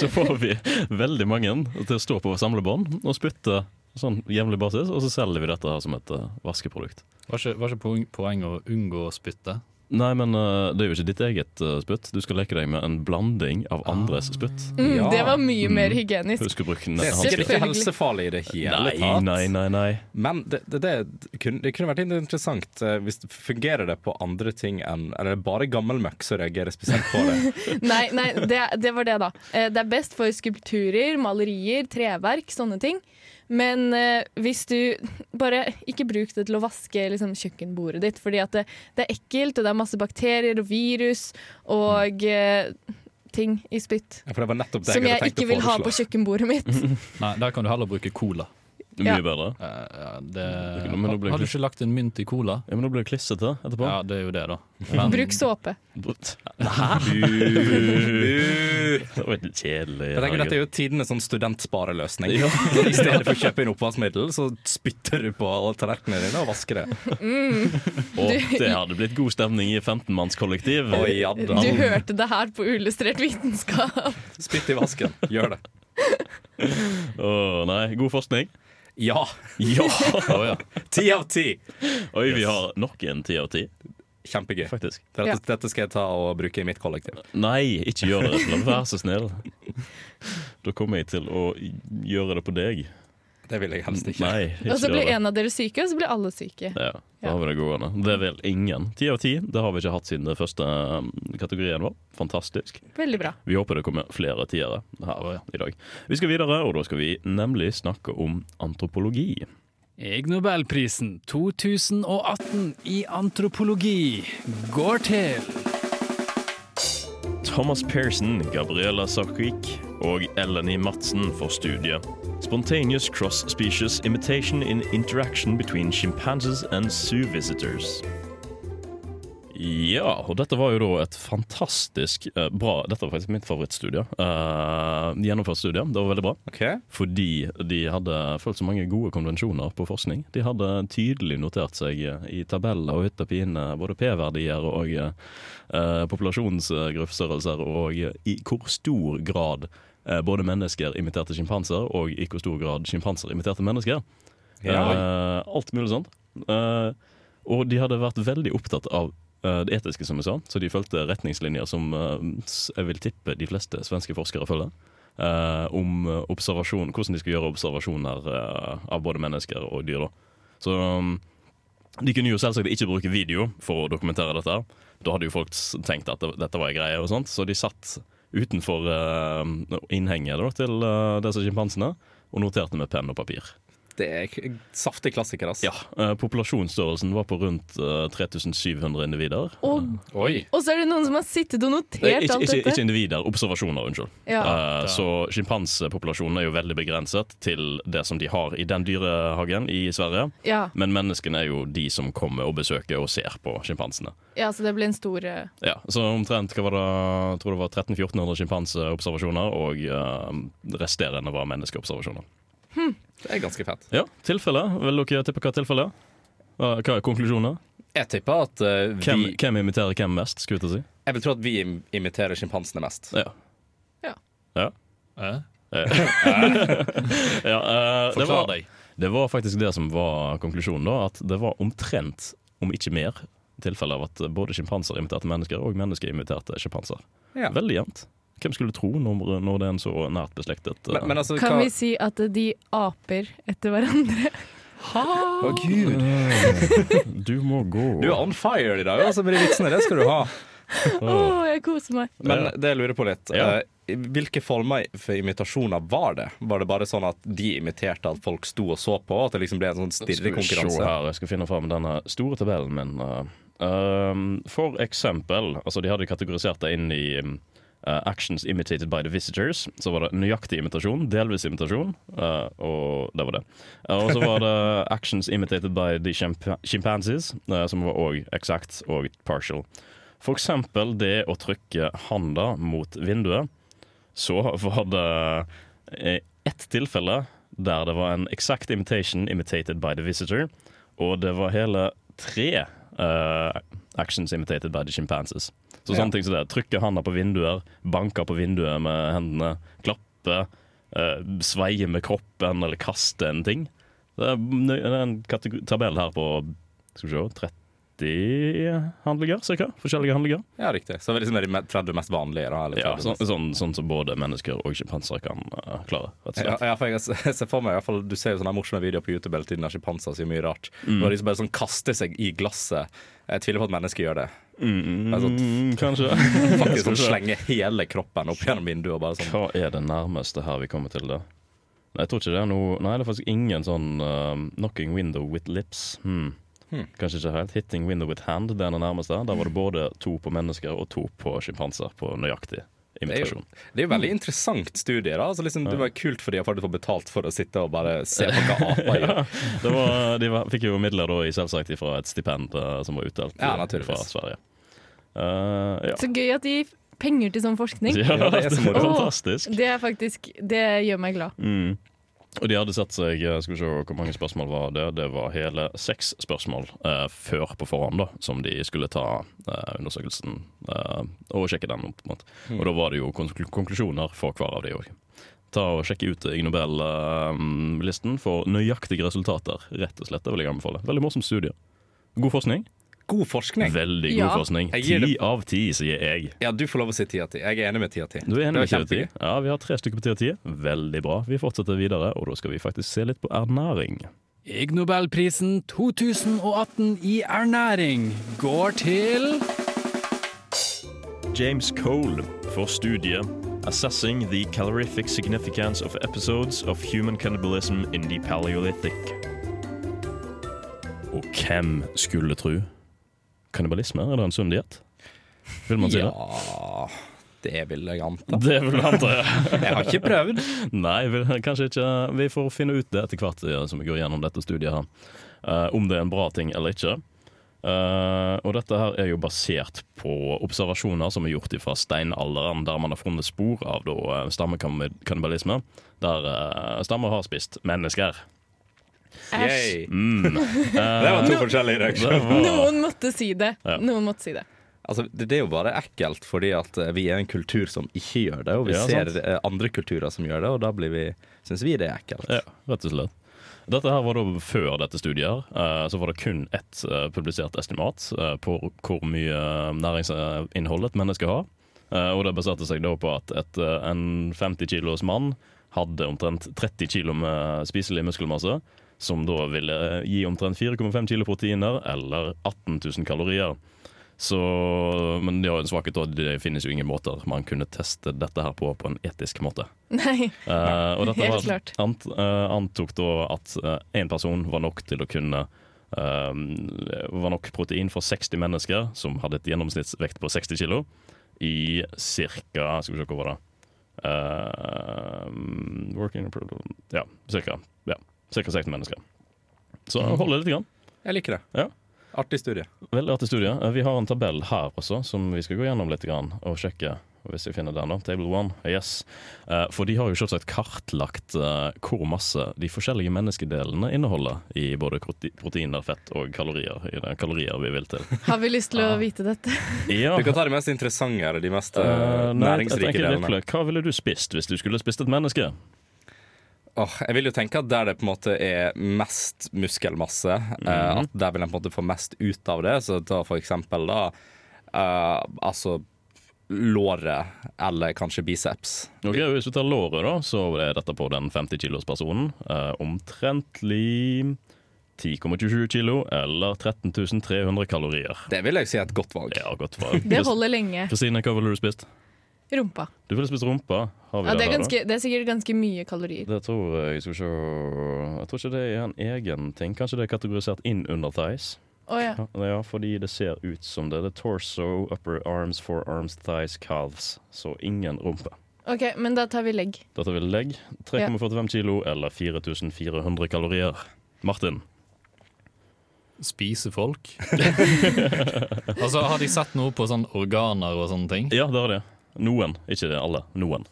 [SPEAKER 2] så får vi veldig mange til å stå på samlebånd og spytte sånn jevnlig basis, og så selger vi dette her som et eh, vaskeprodukt.
[SPEAKER 3] Var ikke, var ikke poeng, poeng å unngå å spytte?
[SPEAKER 2] Nei, men eh, det er jo ikke ditt eget eh, spytt. Du skal leke deg med en blanding av andres spytt.
[SPEAKER 4] Mm,
[SPEAKER 1] Ja.
[SPEAKER 4] Det var mye mer
[SPEAKER 2] Mm.
[SPEAKER 4] hygienisk.
[SPEAKER 2] Husk å bruke
[SPEAKER 1] Det er
[SPEAKER 2] hans
[SPEAKER 1] sikkert
[SPEAKER 2] spytt.
[SPEAKER 1] ikke helsefarlig i det hele
[SPEAKER 2] Nei,
[SPEAKER 1] tatt.
[SPEAKER 2] nei, nei, nei.
[SPEAKER 1] Men det, det, det, kunne, det kunne vært litt interessant eh, hvis det fungerer det på andre ting enn Eller bare gammelmøkk som reagerer spesielt på det.
[SPEAKER 4] Nei, nei det, det var det, da. Eh, Det er best for skulpturer, malerier, treverk, sånne ting. Men eh, hvis du bare ikke bruk det til å vaske liksom, kjøkkenbordet ditt, fordi at det, det er ekkelt, og det er masse bakterier og virus og eh, ting i spytt
[SPEAKER 1] Ja, For det var nettopp det
[SPEAKER 4] som
[SPEAKER 1] jeg
[SPEAKER 4] jeg
[SPEAKER 1] hadde tenkt
[SPEAKER 4] ikke
[SPEAKER 1] å
[SPEAKER 4] vil ha på
[SPEAKER 1] foreslå.
[SPEAKER 4] kjøkkenbordet mitt.
[SPEAKER 3] Nei, der kan du heller bruke cola.
[SPEAKER 2] Mye
[SPEAKER 4] Ja.
[SPEAKER 2] bedre.
[SPEAKER 3] Eh, ja, det,
[SPEAKER 2] Det kunne- men nå ble
[SPEAKER 3] har du
[SPEAKER 2] det-
[SPEAKER 3] ikke lagt en mynt i cola?
[SPEAKER 2] Ja, men da blir det klissete etterpå.
[SPEAKER 3] Ja, det er jo det, da. Men-
[SPEAKER 4] Bruk såpe.
[SPEAKER 2] Det var litt kjedelig.
[SPEAKER 1] Jeg tenker Dette
[SPEAKER 2] herregud.
[SPEAKER 1] er jo tidenes sånn studentspareløsning. I stedet for å kjøpe inn oppvaskmiddel, så spytter du på alle tallerkenene dine og vasker det.
[SPEAKER 2] Å, det hadde blitt god stemning i 15-mannskollektiv.
[SPEAKER 1] Oi, ja da.
[SPEAKER 4] Du hørte det her på Ullustrert vitenskap.
[SPEAKER 1] Spytt i vasken. Gjør det.
[SPEAKER 2] Å, nei, god forskning.
[SPEAKER 1] Ja!
[SPEAKER 2] Ja!
[SPEAKER 1] Ti av ti!
[SPEAKER 2] Oi, vi har nok en ti av ti.
[SPEAKER 1] Kjempegøy.
[SPEAKER 2] faktisk.
[SPEAKER 1] Dette,
[SPEAKER 4] Ja.
[SPEAKER 1] dette skal jeg ta og bruke i mitt kollektiv.
[SPEAKER 2] Nei, ikke gjør det, Espen. Vær så snill. Da kommer jeg til å gjøre det på deg.
[SPEAKER 1] Det vil jeg helst ikke.
[SPEAKER 2] Nei, ikke
[SPEAKER 4] Og så blir
[SPEAKER 2] gjør det.
[SPEAKER 4] en av dere syke, og så blir alle syke.
[SPEAKER 2] Ja, da har vi det gående. Det vil ingen. Ti av ti. Det har vi ikke hatt siden det første um, kategorien vår. Fantastisk.
[SPEAKER 4] Veldig bra.
[SPEAKER 2] Vi håper det kommer flere tiere her i dag. Vi skal videre, og da skal vi nemlig snakke om antropologi.
[SPEAKER 5] Eg Nobelprisen 2018 i antropologi går til
[SPEAKER 2] Thomas Pearson, Gabriela Sarkik og Eleni Madsen for studiet. Spontaneous cross-species imitation in interaction between chimpanzees and zoo visitors. Ja, og dette var jo da et fantastisk eh, bra Dette var faktisk mitt favorittstudie. eh, gjennomført studie. Det var veldig bra.
[SPEAKER 1] Ok.
[SPEAKER 2] Fordi de hadde følt så mange gode konvensjoner på forskning. De hadde tydelig notert seg eh, i tabeller og hytta pine både P-verdier og eh, eh, populasjonsgruppestørrelser, og i hvor stor grad eh, både mennesker imiterte sjimpanser, og i hvor stor grad sjimpanser imiterte mennesker. Eh, alt mulig sånt. Eh, og de hadde vært veldig opptatt av eh, det etiske, som jeg sa, så de fulgte retningslinjer som eh, s- jeg vil tippe de fleste svenske forskere følger. eh, om eh, observasjon, hvordan de skal gjøre observasjoner eh, av både mennesker og dyr. Da. Så um, de kunne jo selvsagt ikke bruke video for å dokumentere dette. Da hadde jo folk s- tenkt at det- dette var en greie, og sånt, så de satt utenfor eh, innhenget da, til eh, disse sjimpansene og noterte med penn og papir.
[SPEAKER 1] Det er k- saftig klassiker, ass.
[SPEAKER 2] Ja, eh, Populasjonsstørrelsen var på rundt eh, 3700 individer.
[SPEAKER 4] Og,
[SPEAKER 1] Oi.
[SPEAKER 4] og så er det noen som har sittet og
[SPEAKER 2] Nei,
[SPEAKER 4] notert
[SPEAKER 2] ikke,
[SPEAKER 4] alt
[SPEAKER 2] ikke, ikke
[SPEAKER 4] dette.
[SPEAKER 2] individer, observasjoner, unnskyld.
[SPEAKER 4] Ja.
[SPEAKER 2] Eh, så sjimpansepopulasjonen er jo veldig begrenset til det som de har i den dyrehagen i Sverige.
[SPEAKER 4] Ja,
[SPEAKER 2] Men menneskene er jo de som kommer og besøker og ser på sjimpansene.
[SPEAKER 4] ja, så det ble en stor eh,
[SPEAKER 2] Ja, så omtrent hva var det, jeg tror det var 1300-1400 sjimpanseobservasjoner, og eh, resterende var menneskeobservasjoner.
[SPEAKER 1] Det er ganske fett.
[SPEAKER 2] Ja, tilfelle. Vil dere tippe hva tilfellet er? Eh, Hva er konklusjoner?
[SPEAKER 1] Jeg tipper at eh,
[SPEAKER 2] Hvem,
[SPEAKER 1] vi
[SPEAKER 2] hvem imiterer hvem mest, skulle jeg til å si?
[SPEAKER 1] Jeg vil tro at vi im- imiterer sjimpansene mest.
[SPEAKER 2] Ja.
[SPEAKER 4] Ja.
[SPEAKER 2] Ja.
[SPEAKER 5] Eh?
[SPEAKER 2] Ja, eh, det,
[SPEAKER 1] Forklar
[SPEAKER 2] var,
[SPEAKER 1] deg.
[SPEAKER 2] det var faktisk det som var konklusjonen, da. At det var omtrent, om ikke mer, tilfeller av at både sjimpanser imiterte mennesker, og mennesker imiterte sjimpanser.
[SPEAKER 1] Ja.
[SPEAKER 2] Veldig jevnt. Hvem skulle tro når, når det er en så nært beslektet eh,
[SPEAKER 1] Men, men altså,
[SPEAKER 4] Kan
[SPEAKER 1] hva-
[SPEAKER 4] vi si at de aper etter hverandre?
[SPEAKER 1] Å, Gud.
[SPEAKER 2] eh, Du må gå.
[SPEAKER 1] Du er on fire i dag, altså, med de vitsene. Det skal du ha.
[SPEAKER 4] Å, jeg koser meg.
[SPEAKER 1] Men
[SPEAKER 2] Ja.
[SPEAKER 1] det jeg lurer på litt
[SPEAKER 2] Ja.
[SPEAKER 1] eh, Hvilke former for imitasjoner var det? Var det bare sånn at de imiterte at folk sto og så på? At det liksom ble en sånn
[SPEAKER 2] Skal vi se
[SPEAKER 1] stirrekonkurranse?
[SPEAKER 2] her, jeg skal finne fram denne store tabellen min. eh. Um, for eksempel, altså de hadde kategorisert det inn i um, eh, actions imitated by the visitors. Så var det nøyaktig imitasjon, delvis imitasjon, eh, og det var det. Eh, og så var det actions imitated by the chimpa- chimpanzees, eh, som var òg exact og partial. For eksempel det å trykke handa mot vinduet. Så var det eh, ett tilfelle der det var en exact imitation imitated by the visitor, og det var hele tre eh, actions imitated by the chimpanzees.
[SPEAKER 1] Ja.
[SPEAKER 2] Så sånne ting som det. Trykke handa på vinduer, banke på vinduet med hendene, klappe, eh, sveie med kroppen eller kaste en ting. Det er nø- det er en kategori- tabell her på skal vi se, 30 handlinger, cirka. Forskjellige handlinger.
[SPEAKER 1] Ja, riktig. Så det var liksom de me- 30 mest vanlige, da? Eller
[SPEAKER 2] Ja,
[SPEAKER 1] 30
[SPEAKER 2] sånn,
[SPEAKER 1] mest-
[SPEAKER 2] sånn, sånn som både mennesker og sjimpansere kan eh, klare. Rett og
[SPEAKER 1] Ja,
[SPEAKER 2] slett.
[SPEAKER 1] ja, for jeg, jeg ser for meg, i hvert fall, Du ser jo sånne morsomme videoer på YouTube hele tiden av sjimpanser som gjør mye rart.
[SPEAKER 2] Mm.
[SPEAKER 1] Når de som bare sånn kaster seg i glasset. Jeg tviler på at mennesker gjør det. Altså,
[SPEAKER 2] Mm, kanskje.
[SPEAKER 1] Faktisk sånn slenger hele kroppen opp gjennom vinduet og bare sånn.
[SPEAKER 2] Hva er det nærmeste her vi kommer til det? Nei, jeg tror ikke det er noe Nei, det er faktisk ingen sånn eh, 'knocking window with lips'. Hmm.
[SPEAKER 1] Hmm.
[SPEAKER 2] Kanskje ikke helt. 'Hitting window with hand' det er det nærmeste. Der var det både to på mennesker og to på sjimpanser på nøyaktig
[SPEAKER 1] Det er, jo,
[SPEAKER 2] imitasjon.
[SPEAKER 1] det er jo veldig interessant studie. da altså, liksom, Det var kult fordi jeg faktisk får betalt for å sitte og bare se på hva aper gjør.
[SPEAKER 2] Det var, de var, fikk jo midler da, i selvsagt fra et stipend eh, som var utdelt
[SPEAKER 1] Ja,
[SPEAKER 2] eh,
[SPEAKER 1] naturligvis.
[SPEAKER 2] fra Sverige. Eh, ja.
[SPEAKER 4] Så gøy at de gir penger til sånn forskning.
[SPEAKER 2] ja, det
[SPEAKER 1] det er
[SPEAKER 2] er
[SPEAKER 1] så moro.
[SPEAKER 2] fantastisk.
[SPEAKER 4] Det er faktisk Det gjør meg glad.
[SPEAKER 2] Mm. Og de hadde sett seg eh, Skal vi se hvor mange spørsmål var det? Det var hele seks spørsmål eh, før på forhånd, da, som de skulle ta eh, undersøkelsen eh, og sjekke den opp mot.
[SPEAKER 1] Mm.
[SPEAKER 2] Og da var det jo konklu- konklusjoner for hver av de òg. Ta og Sjekke ut eh, Ig Nobel-listen for nøyaktige resultater, rett og slett. Det vil jeg anbefale. Veldig morsom studie. God forskning.
[SPEAKER 1] God forskning.
[SPEAKER 2] Veldig god
[SPEAKER 4] Ja.
[SPEAKER 2] forskning.
[SPEAKER 1] Jeg
[SPEAKER 2] Ti
[SPEAKER 1] gir det-
[SPEAKER 2] av ti, sier jeg.
[SPEAKER 1] Ja, du får lov å si ti av ti. Jeg er enig med ti av ti.
[SPEAKER 2] Du er enig med
[SPEAKER 1] Det var
[SPEAKER 2] 10 av 10? Ja, vi har tre stykker på 10 av 10. Veldig bra. Vi fortsetter videre, og da skal vi faktisk se litt på ernæring.
[SPEAKER 5] Ig Nobelprisen 2018 i ernæring går til
[SPEAKER 2] James Cole for studiet Assessing the calorific significance of episodes of human cannibalism in the Paleolithic. Og hvem skulle tro? Kannibalisme, er det en sunn diett? Vil man si det?
[SPEAKER 1] Ja Det vil jeg anta.
[SPEAKER 2] Det vil jeg anta, ja.
[SPEAKER 1] Jeg har ikke prøvd.
[SPEAKER 2] Nei, vel, kanskje ikke. Vi får finne ut det etter hvert ja, som vi går gjennom dette studiet her. Eh, om det er en bra ting eller ikke. Eh, og dette her er jo basert på observasjoner som er gjort fra steinalderen, der man har funnet spor av da, eh, stammekannibalisme, der eh, stammer har spist mennesker.
[SPEAKER 4] Æsj.
[SPEAKER 1] Yay.
[SPEAKER 2] Mm.
[SPEAKER 1] Det var to forskjellige
[SPEAKER 2] Det
[SPEAKER 1] reaksjoner.
[SPEAKER 2] var-
[SPEAKER 4] Noen måtte si det.
[SPEAKER 2] Ja.
[SPEAKER 4] Noen måtte si det.
[SPEAKER 1] Altså, det, det er jo bare ekkelt, fordi at eh, vi er en kultur som ikke gjør det. Og vi
[SPEAKER 2] Ja,
[SPEAKER 1] ser
[SPEAKER 2] sant.
[SPEAKER 1] eh, andre kulturer som gjør det, og da blir vi, syns vi det er ekkelt.
[SPEAKER 2] Ja, rett og slett. Dette her var da før dette studiet. her, eh, Så var det kun ett eh, publisert estimat eh, på hvor mye næringsinnhold et menneske har. Eh, Og det baserte seg da på at et, eh, en 50 kilos mann hadde omtrent 30 kilo med spiselig muskelmasse, som da ville eh, gi omtrent 4,5 kilo proteiner eller 18 000 kalorier. Så, men de har jo en svakhet, og det finnes jo ingen måter man kunne teste dette her på på en etisk måte.
[SPEAKER 4] Nei.
[SPEAKER 2] Eh, og dette
[SPEAKER 4] Helt
[SPEAKER 2] var,
[SPEAKER 4] klart.
[SPEAKER 2] ant, eh, antok da at én person var nok til å kunne eh, Var nok protein for 60 mennesker som hadde et gjennomsnittsvekt på 60 kg, i ca. Skal vi se hva var det Eh, Working Ja, ca. Ja, cirka 60 mennesker. Så
[SPEAKER 4] Mhm.
[SPEAKER 2] holder det lite grann.
[SPEAKER 1] Jeg liker det.
[SPEAKER 2] Ja.
[SPEAKER 1] Artig studie.
[SPEAKER 2] Veldig artig studie. Eh, Vi har en tabell her også, som vi skal gå gjennom litt grann, og sjekke. Og Hvis jeg finner den, da. Table one. Yes. Eh, For de har jo selvsagt kartlagt eh, hvor masse de forskjellige menneskedelene inneholder i både kroti- proteiner, fett og kalorier. I det kalorier vi vil til.
[SPEAKER 4] Har vi lyst til
[SPEAKER 2] Ah.
[SPEAKER 4] å vite dette?
[SPEAKER 2] Ja.
[SPEAKER 1] Du kan ta de mest interessante eller de mest eh,
[SPEAKER 2] Eh, nei, jeg
[SPEAKER 1] næringsrike
[SPEAKER 2] tenker
[SPEAKER 1] delene.
[SPEAKER 2] virkelig, Hva ville du spist hvis du skulle spist et menneske?
[SPEAKER 1] Åh, jeg vil jo tenke at der det på en måte er mest muskelmasse, eh,
[SPEAKER 2] Mhm.
[SPEAKER 1] at der vil en på en måte få mest ut av det. Så ta for eksempel da eh, altså låret eller kanskje biceps.
[SPEAKER 2] Ok, Hvis vi tar låret, da, så er dette på den 50 kilos personen. Eh, omtrentlig 10,27 kilo eller 13 300 kalorier.
[SPEAKER 1] Det vil jeg si er et godt valg.
[SPEAKER 2] Ja, godt valg.
[SPEAKER 4] Det holder lenge.
[SPEAKER 2] Kristine, hva ville du spist?
[SPEAKER 4] Rumpa.
[SPEAKER 2] Du ville spist rumpa. Har vi
[SPEAKER 4] Ja, det, er
[SPEAKER 2] her,
[SPEAKER 4] ganske, det er sikkert ganske mye kalorier.
[SPEAKER 2] da? Det tror jeg Skal vi se Jeg tror ikke det er en egen ting. Kanskje det er kategorisert inn under thighs.
[SPEAKER 4] Å ja.
[SPEAKER 2] Ja, ja, fordi det ser ut som det. Det er torso, upper arms, forearms, thighs, calves. Så ingen rumpe.
[SPEAKER 4] OK, men da tar vi legg.
[SPEAKER 2] Dette vil legg 3,45 kilo eller 4400 kalorier. Martin.
[SPEAKER 3] Spise folk. altså, har de sett noe på sånn organer og sånne ting?
[SPEAKER 2] Ja, det er det. Noen. Ikke det alle. Noen.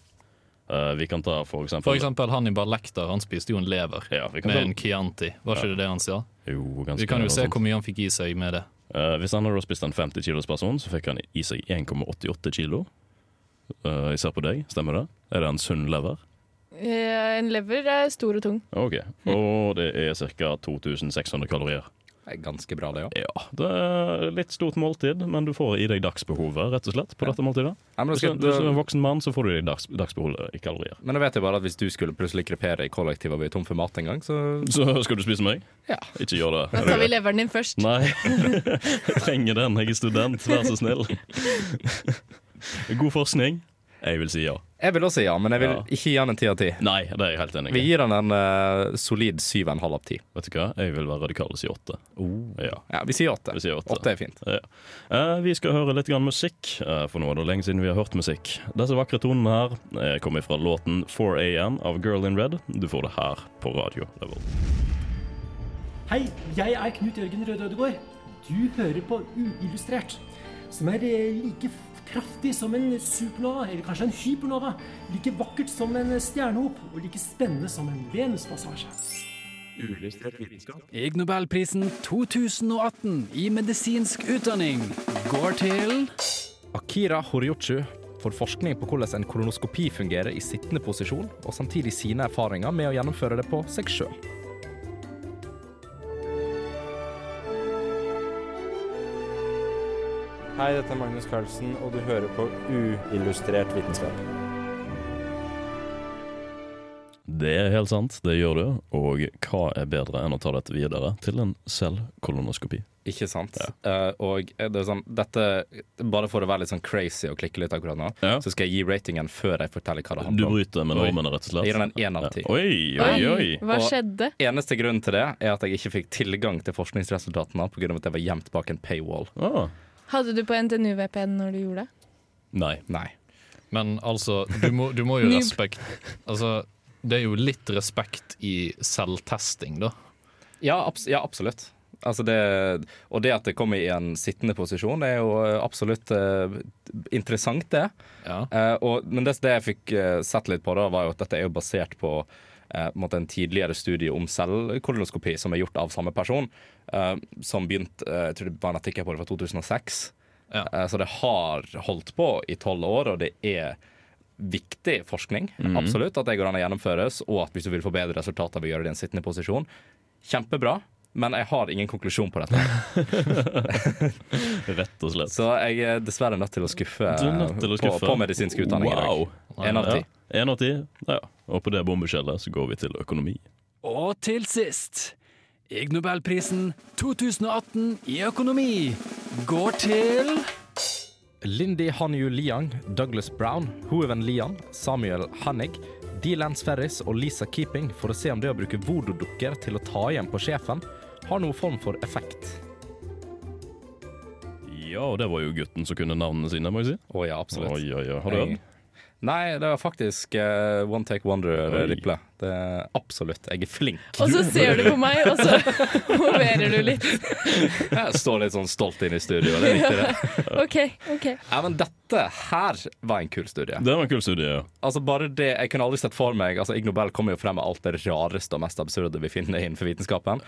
[SPEAKER 2] Eh, vi kan ta for eksempel,
[SPEAKER 3] For eksempel Hannibal Lekter, han spiste jo en lever
[SPEAKER 2] Ja, vi kan
[SPEAKER 3] med
[SPEAKER 2] ta-
[SPEAKER 3] en Chianti. Var ikke det det han sa?
[SPEAKER 2] Jo, ganske
[SPEAKER 3] Vi kan jo
[SPEAKER 2] noe
[SPEAKER 3] se
[SPEAKER 2] sånt.
[SPEAKER 3] hvor mye han fikk i seg med det.
[SPEAKER 2] Eh, hvis han hadde da spist en 50 kilos person, så fikk han i seg 1,88 kilo. Eh, jeg ser på deg, stemmer det? Er det en sunn lever?
[SPEAKER 4] Eh, En lever er stor og tung.
[SPEAKER 2] Ok, Og det er ca. 2600 kalorier.
[SPEAKER 1] Det er ganske bra, det òg.
[SPEAKER 2] Ja, Det er litt stort måltid, men du får i deg dagsbehovet rett og slett på dette måltidet.
[SPEAKER 1] Men, da
[SPEAKER 2] Hvis du
[SPEAKER 1] skal-
[SPEAKER 2] hvis du er en voksen mann, så får du i deg dags, dagsbehovet i kalorier.
[SPEAKER 1] men da vet jeg bare at hvis du skulle plutselig krepere i kollektivet og bli tom for mat en gang, så
[SPEAKER 2] Så skal du spise meg?
[SPEAKER 1] Ja.
[SPEAKER 2] Ikke gjør
[SPEAKER 4] Da
[SPEAKER 2] det.
[SPEAKER 4] tar vi leveren din først.
[SPEAKER 2] Nei. Jeg trenger den, jeg er student, vær så snill. God forskning. Jeg vil si ja.
[SPEAKER 1] Jeg vil også si ja, men jeg vil
[SPEAKER 2] Ja.
[SPEAKER 1] ikke gi han en ti av ti.
[SPEAKER 2] Nei, det er jeg helt enig i.
[SPEAKER 1] Vi gir han en eh, solid syv og en halv av ti.
[SPEAKER 2] Vet du hva, jeg vil være radikal og si åtte. Ja,
[SPEAKER 1] Ja, vi sier åtte.
[SPEAKER 2] vi sier åtte.
[SPEAKER 1] Åtte er fint.
[SPEAKER 2] Ja. Eh, vi skal høre litt grann musikk, eh, for nå er det lenge siden vi har hørt musikk. Disse vakre tonene her eh, kommer fra låten 4AM av Girl in Red. Du får det her på Radio Level.
[SPEAKER 11] Hei, jeg er Knut Jørgen Røde Ødegård. Du hører på Uillustrert, som er eh, like f- kraftig som en supernova, eller kanskje en hypernova, like vakkert som en stjernehop, og like spennende som en venuspassasje.
[SPEAKER 5] Ig Nobelprisen 2018 i medisinsk utdanning går til
[SPEAKER 1] Akira Horiochu får forskning på hvordan en kolonoskopi fungerer i sittende posisjon, og samtidig sine erfaringer med å gjennomføre det på seg sjøl.
[SPEAKER 12] Hei, dette er Magnus Carlsen, og du hører på Uillustrert vitenskap.
[SPEAKER 2] Det er helt sant, det gjør du. Og hva er bedre enn å ta dette videre til en selvkolonoskopi?
[SPEAKER 1] Ikke sant? Eh, og det er sånn, dette, bare for å være litt sånn crazy og klikke litt akkurat nå, så skal jeg gi ratingen før jeg forteller hva det handler
[SPEAKER 2] Du
[SPEAKER 1] om.
[SPEAKER 2] bryter med
[SPEAKER 1] Oi.
[SPEAKER 2] normene, rett og slett.
[SPEAKER 1] Jeg gir den en én av
[SPEAKER 2] Ja.
[SPEAKER 1] ti.
[SPEAKER 2] Oi, oi, oi.
[SPEAKER 4] Hva
[SPEAKER 1] Og
[SPEAKER 4] skjedde?
[SPEAKER 1] Eneste grunnen til det er at jeg ikke fikk tilgang til forskningsresultatene pga. at jeg var gjemt bak en paywall.
[SPEAKER 2] Ah.
[SPEAKER 4] Hadde du på NTNU VPN når du gjorde det?
[SPEAKER 2] Nei.
[SPEAKER 3] Men altså, du må, du må jo
[SPEAKER 4] Noob.
[SPEAKER 3] respekt Altså, det er jo litt respekt i selvtesting, da.
[SPEAKER 1] Ja, abs ja absolutt. Altså det, og det at det kommer i en sittende posisjon, er jo eh, absolutt eh, interessant, det. Eh, og, men det, det jeg fikk eh, sett litt på, da, var jo at dette er jo basert på eh, på en måte en tidligere studie om selvkolonoskopi som er gjort av samme person, eh, som begynte eh, Jeg tror det var en artikkel på det fra 2006. Eh, så det har holdt på i tolv år, og det er viktig forskning.
[SPEAKER 2] Mhm.
[SPEAKER 1] Absolutt at det går an å gjennomføres, og at hvis du vil få bedre resultater ved å gjøre det i en sittende posisjon. Kjempebra, men jeg har ingen konklusjon på dette.
[SPEAKER 2] Rett og slett.
[SPEAKER 1] Så jeg er dessverre nødt til å skuffe,
[SPEAKER 2] Du er nødt til å skuffe.
[SPEAKER 1] På, på medisinsk utdanning
[SPEAKER 2] wow.
[SPEAKER 1] i dag. En av ti.
[SPEAKER 2] Ja. En av ti. Ja. Og på det bombeskjellet så går vi til økonomi.
[SPEAKER 13] Og til sist Ig Nobelprisen 2018 i økonomi går til
[SPEAKER 1] Lindy Hanyu Liang, Douglas Brown, Hooven Lian, Samuel Hannig, Dee Lance Ferris og Lisa Keeping for å se om det å bruke voodoo-dukker til å ta igjen på sjefen har noen form for effekt.
[SPEAKER 2] Ja, og det var jo gutten som kunne navnene sine, må jeg si.
[SPEAKER 1] Å ja, absolutt.
[SPEAKER 2] Oi, oi, oi. Har du hørt?
[SPEAKER 1] Nei, det var faktisk eh, One Take
[SPEAKER 2] Oi.
[SPEAKER 1] Wonder-ripplet. Absolutt. Jeg er flink.
[SPEAKER 4] Og så ser du på meg, og så moverer du litt.
[SPEAKER 1] Jeg står litt sånn stolt inne i studio, det er viktig, det.
[SPEAKER 4] OK. ok.
[SPEAKER 1] Ja, men dette her var en kul studie.
[SPEAKER 2] Det var en kul studie, ja.
[SPEAKER 1] Altså bare det, Jeg kunne aldri sett for meg Altså Ig Nobel kommer jo frem med alt det rareste og mest absurde vi finner innenfor vitenskapen.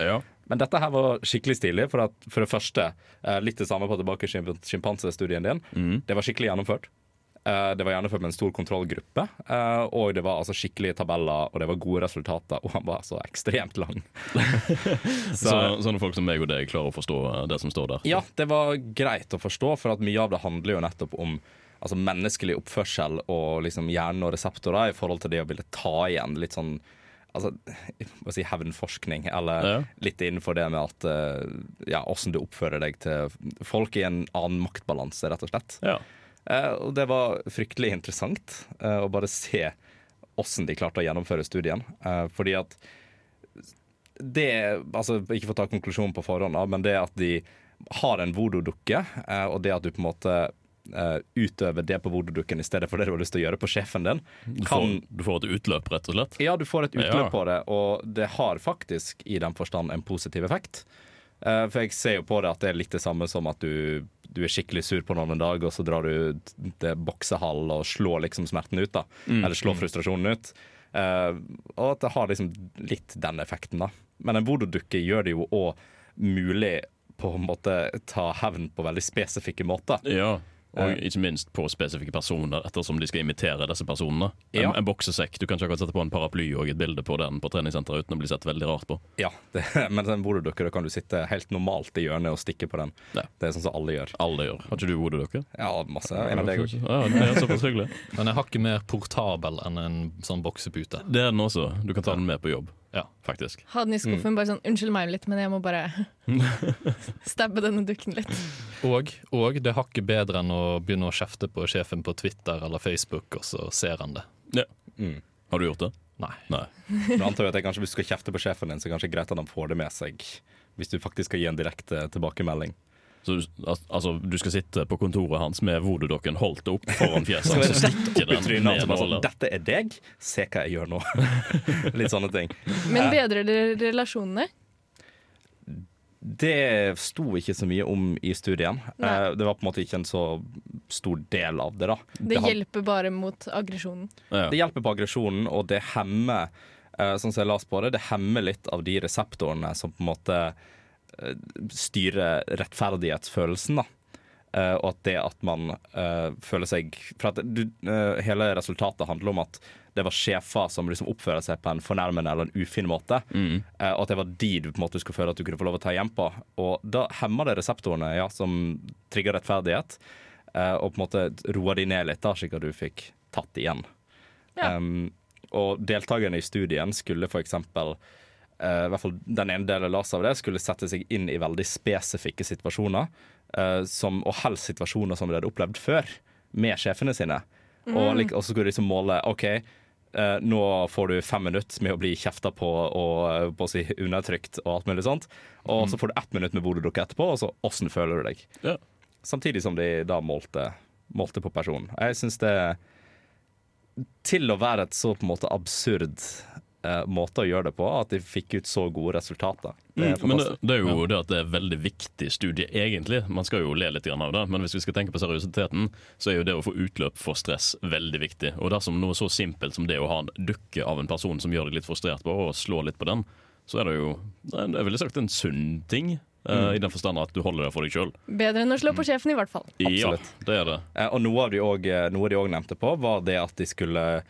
[SPEAKER 1] Men dette her var skikkelig stilig. For, at, for det første, eh, litt det samme på tilbake til sjimpansestudien din. Det var skikkelig gjennomført. Eh, Det var gjennomført med en stor kontrollgruppe. eh, Og det var altså skikkelige tabeller, og det var gode resultater, og han var så ekstremt lang.
[SPEAKER 2] Så, sånne folk som meg og deg klarer å forstå eh, det som står der.
[SPEAKER 1] Ja, det var greit å forstå, for at mye av det handler jo nettopp om altså, menneskelig oppførsel og liksom hjerne og reseptorer i forhold til det å ville ta igjen litt sånn Altså, hva si, hevnforskning, eller
[SPEAKER 2] Ja.
[SPEAKER 1] litt innenfor det med at eh, Ja, åssen du oppfører deg til folk i en annen maktbalanse, rett og slett. Eh, og det var fryktelig interessant eh, å bare se åssen de klarte å gjennomføre studien. Eh, fordi at det Altså, ikke for å ta konklusjonen på forhånd, da, men det at de har en voodoo-dukke, eh, og det at du på en måte eh, utøver det på voodoo-dukken i stedet for det du har lyst til å gjøre på sjefen din,
[SPEAKER 2] Du får,
[SPEAKER 1] kan
[SPEAKER 2] du får et utløp, rett og slett.
[SPEAKER 1] ja, du får et utløp
[SPEAKER 2] Ja.
[SPEAKER 1] på det, og det har faktisk i den forstand en positiv effekt. Eh, For jeg ser jo på det at det er litt det samme som at du, du er skikkelig sur på noen en dag, og så drar du til boksehall og slår liksom smerten ut, da.
[SPEAKER 2] Mm.
[SPEAKER 1] Eller slår
[SPEAKER 2] Mm.
[SPEAKER 1] frustrasjonen ut. Eh, og at det har liksom litt den effekten, da. Men en voodoo-dukke gjør det jo òg mulig på en måte ta hevn på veldig spesifikke måter.
[SPEAKER 2] Ja,
[SPEAKER 1] Eh,
[SPEAKER 2] og ikke minst på spesifikke personer, ettersom de skal imitere disse personene. En,
[SPEAKER 1] Ja.
[SPEAKER 2] en boksesekk. Du kan ikke akkurat sette på en paraply og et bilde på den på treningssenteret uten å bli sett veldig rart på.
[SPEAKER 1] Ja, det, men en voodoo-dukke, da kan du sitte helt normalt i hjørnet og stikke på den. Det er sånn som alle gjør.
[SPEAKER 2] Alle gjør. Har ikke du voodoo-dukke?
[SPEAKER 1] Ja, masse. En av deg òg.
[SPEAKER 3] Men jeg har ikke mer portabel enn en sånn boksepute.
[SPEAKER 2] Det er den også. Du kan ta den med på jobb, faktisk.
[SPEAKER 4] Ha den i
[SPEAKER 2] Mm.
[SPEAKER 4] skuffen. Bare sånn 'unnskyld meg litt, men jeg må bare stabbe denne dukken litt'.
[SPEAKER 3] Og, og det har ikke bedre enn å begynne å kjefte på sjefen på Twitter eller Facebook, og så ser han det.
[SPEAKER 2] Ja. Har du gjort det?
[SPEAKER 3] Nei.
[SPEAKER 1] Men antar jeg at jeg kanskje Hvis du skal kjefte på sjefen din, så er kanskje greit at han får det med seg. Hvis du faktisk skal gi en direkte tilbakemelding.
[SPEAKER 2] Så du- al- altså, du skal sitte på kontoret hans med voodoo-dokken holdt opp foran fjeset
[SPEAKER 1] Skal jeg
[SPEAKER 2] hans og
[SPEAKER 1] rett
[SPEAKER 2] stikke
[SPEAKER 1] opp i
[SPEAKER 2] den
[SPEAKER 1] trynet
[SPEAKER 2] ned
[SPEAKER 1] hans og bare sånn,
[SPEAKER 2] nåler.
[SPEAKER 1] Dette er deg, se hva jeg gjør nå. Litt sånne ting.
[SPEAKER 4] Men
[SPEAKER 1] Eh,
[SPEAKER 4] bedrer det relasjonene?
[SPEAKER 1] Det sto ikke så mye om i studien.
[SPEAKER 4] Nei.
[SPEAKER 1] Eh, Det var på en måte ikke en så stor del av det, da.
[SPEAKER 4] Det
[SPEAKER 1] had-
[SPEAKER 4] hjelper bare mot aggresjonen.
[SPEAKER 1] Det hjelper på aggresjonen, og det hemmer eh, sånn som jeg las på det, det hemmer litt av de reseptorene som på en måte eh, styrer rettferdighetsfølelsen. da. eh, og at det at man eh, føler seg For at du, eh, hele resultatet handler om at det var sjefer som liksom oppfører seg på en fornærmende eller en ufin måte. eh, og at det var de du på en måte skulle føle at du kunne få lov å ta igjen på. Og da hemmer det reseptorene ja, som trigger rettferdighet, eh, og på en måte roer de ned litt, da, slik at du fikk tatt igjen.
[SPEAKER 4] Ja.
[SPEAKER 1] Um, og deltakerne i studien skulle for eksempel eh, i hvert fall den ene delen la seg av det, skulle sette seg inn i veldig spesifikke situasjoner, eh, som, og helst situasjoner som de hadde opplevd før, med sjefene sine. Og,
[SPEAKER 14] Mm.
[SPEAKER 1] lik- og så skulle de liksom måle OK, eh, nå får du fem minutter med å bli kjefta på og eh, på å si undertrykt og alt mulig sånt. Og
[SPEAKER 2] Mm.
[SPEAKER 1] så får du ett minutt med hvor du dukker etterpå, og så åssen føler du deg. Samtidig som de da målte, målte på personen. Jeg syns det til å være et så på en måte absurd eh, måte å gjøre det på, at de fikk ut så gode resultater. Det er
[SPEAKER 2] Mm, men det,
[SPEAKER 1] fantastisk.
[SPEAKER 2] det er jo
[SPEAKER 1] Ja.
[SPEAKER 2] det at det er veldig viktig studie, egentlig. Man skal jo le litt grann av det, men hvis vi skal tenke på seriøsiteten, så er jo det å få utløp for stress veldig viktig. Og dersom noe så simpelt som det å ha en dukke av en person som gjør deg litt frustrert på, og slå litt på den, så er det jo det er, jeg ville sagt en sunn ting, eh,
[SPEAKER 1] Mm.
[SPEAKER 2] i den forstand at du holder det for deg sjøl.
[SPEAKER 4] Bedre enn å slå
[SPEAKER 2] Mm.
[SPEAKER 4] på sjefen, i hvert fall.
[SPEAKER 2] Ja, det er det.
[SPEAKER 1] Eh, Og noe, av de også, noe de òg nevnte på, var det at de skulle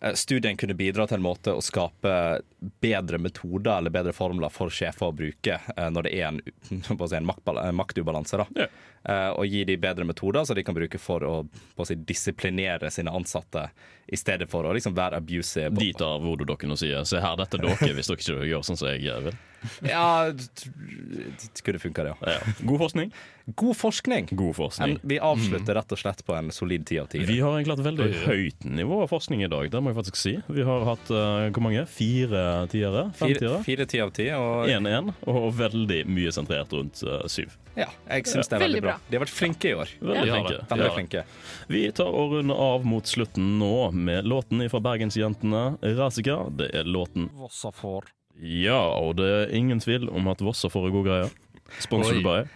[SPEAKER 1] eh, Studien kunne bidra til en måte å skape bedre metoder eller bedre formler for sjefer å bruke eh, når det er en, på å si, en, maktbal- en maktubalanse. Da. Eh, Og gi de bedre metoder som de kan bruke for å, på å si, disiplinere sine ansatte, i stedet for å liksom være abusive.
[SPEAKER 2] De tar vododokken og sier 'se her, dette er dere', hvis dere ikke gjør sånn som jeg vil.
[SPEAKER 1] Ja, det det kunne funka, det, ja.
[SPEAKER 2] God forskning.
[SPEAKER 1] God forskning.
[SPEAKER 2] God forskning.
[SPEAKER 1] En- Vi avslutter rett og slett på en solid ti av ti.
[SPEAKER 2] Vi har egentlig hatt veldig
[SPEAKER 1] Oi, oi.
[SPEAKER 2] høyt nivå av forskning i dag, det må jeg faktisk si. Vi har hatt eh, hvor mange? Fire tiere? Fem
[SPEAKER 1] Fire-
[SPEAKER 2] tiere?
[SPEAKER 1] Fire ti av ti. Og
[SPEAKER 2] 1-1, og veldig mye sentrert rundt eh, syv.
[SPEAKER 1] ja, jeg syns det er veldig bra. De har vært flinke i år.
[SPEAKER 2] Veldig
[SPEAKER 1] De har
[SPEAKER 2] flinke.
[SPEAKER 1] vært Veldig
[SPEAKER 2] Ja.
[SPEAKER 1] flinke.
[SPEAKER 2] Vi tar og runder av mot slutten nå med låten fra Bergensjentene, 'Rasika'. Det er låten
[SPEAKER 12] Vossa får.
[SPEAKER 2] Ja, og det er ingen tvil om at Vossa får en god greie. Sponset
[SPEAKER 1] Oi.
[SPEAKER 2] by.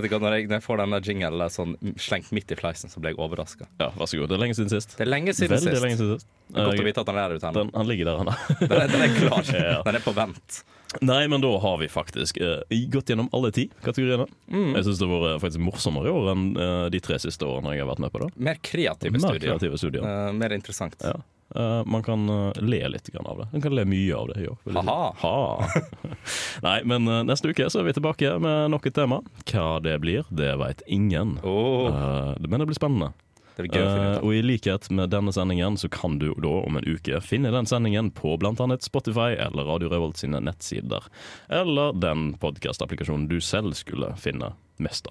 [SPEAKER 1] Vet du hva, når, jeg, når jeg får denne jingelen der sånn slengt midt i fleisen, så blir jeg overraska.
[SPEAKER 2] Ja, vær så god. Det er lenge siden sist.
[SPEAKER 1] Det er lenge siden
[SPEAKER 2] Veldig
[SPEAKER 1] sist.
[SPEAKER 2] lenge siden sist.
[SPEAKER 1] Det er godt
[SPEAKER 2] Eh,
[SPEAKER 1] å vite at han er der ute ennå.
[SPEAKER 2] Den, han ligger der, han er.
[SPEAKER 1] Den er, den er klar.
[SPEAKER 2] Ja.
[SPEAKER 1] Den er på vent.
[SPEAKER 2] Nei, men da har vi faktisk eh, gått gjennom alle ti kategoriene.
[SPEAKER 1] Mm.
[SPEAKER 2] Jeg syns det har vært faktisk morsommere i år enn eh, de tre siste årene jeg har vært med på det.
[SPEAKER 1] Mer kreative
[SPEAKER 2] Mer
[SPEAKER 1] studier.
[SPEAKER 2] kreative studier.
[SPEAKER 1] Eh, mer interessant.
[SPEAKER 2] Ja. Eh, man kan eh, le litt grann av det. Man kan le mye av det i år. vil jeg si. Ha. Nei, men eh, neste uke så er vi tilbake med nok et tema. Hva det blir, det veit ingen.
[SPEAKER 1] Oh.
[SPEAKER 2] Eh, men det blir spennende.
[SPEAKER 1] Det blir gøy å finne ut
[SPEAKER 2] Eh, og i likhet med denne sendingen så kan du da om en uke finne den sendingen på bl.a. Spotify eller Radio Revolt sine nettsider. Eller den podkastapplikasjonen du selv skulle finne mest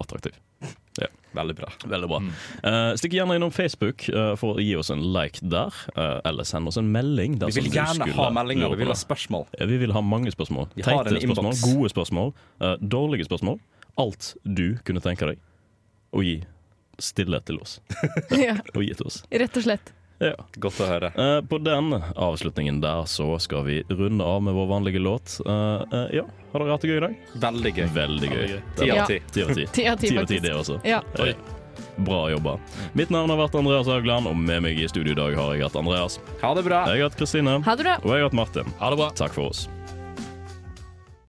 [SPEAKER 2] attraktiv. Ja.
[SPEAKER 1] Veldig bra. Mm.
[SPEAKER 2] Veldig bra. Eh, stikk gjerne innom Facebook eh, for å gi oss en like der, eh, eller send oss en melding.
[SPEAKER 1] Vi
[SPEAKER 2] dersom
[SPEAKER 1] vil
[SPEAKER 2] du
[SPEAKER 1] gjerne
[SPEAKER 2] skulle
[SPEAKER 1] ha meldinger,
[SPEAKER 2] lure
[SPEAKER 1] vi
[SPEAKER 2] på
[SPEAKER 1] vil ha
[SPEAKER 2] det.
[SPEAKER 1] spørsmål.
[SPEAKER 2] Ja, Vi vil ha mange spørsmål.
[SPEAKER 1] Vi har en
[SPEAKER 2] Teite spørsmål,
[SPEAKER 1] inbox.
[SPEAKER 2] gode spørsmål, eh, dårlige spørsmål. Alt du kunne tenke deg å gi stille til oss.
[SPEAKER 4] Ja,
[SPEAKER 2] Og gi til oss.
[SPEAKER 4] rett og slett.
[SPEAKER 2] Ja.
[SPEAKER 1] Godt å høre.
[SPEAKER 2] Eh, på den avslutningen der så skal vi runde av med vår vanlige låt. Eh, eh, ja, har dere hatt det gøy i dag?
[SPEAKER 1] Veldig gøy.
[SPEAKER 2] Veldig gøy.
[SPEAKER 1] Ti av ti.
[SPEAKER 2] Ja. Ti av ti.
[SPEAKER 4] Ti av ti,
[SPEAKER 2] Ti av ti,
[SPEAKER 4] faktisk.
[SPEAKER 2] det også.
[SPEAKER 4] Ja.
[SPEAKER 2] Eh, Bra jobba. Mitt navn har vært Andreas Haugland, og med meg i studio i dag har jeg hatt Andreas.
[SPEAKER 1] Ha det bra.
[SPEAKER 2] Jeg har hatt Kristine.
[SPEAKER 4] Ha det bra.
[SPEAKER 2] Og jeg har hatt Martin. Ha det bra. Takk for oss.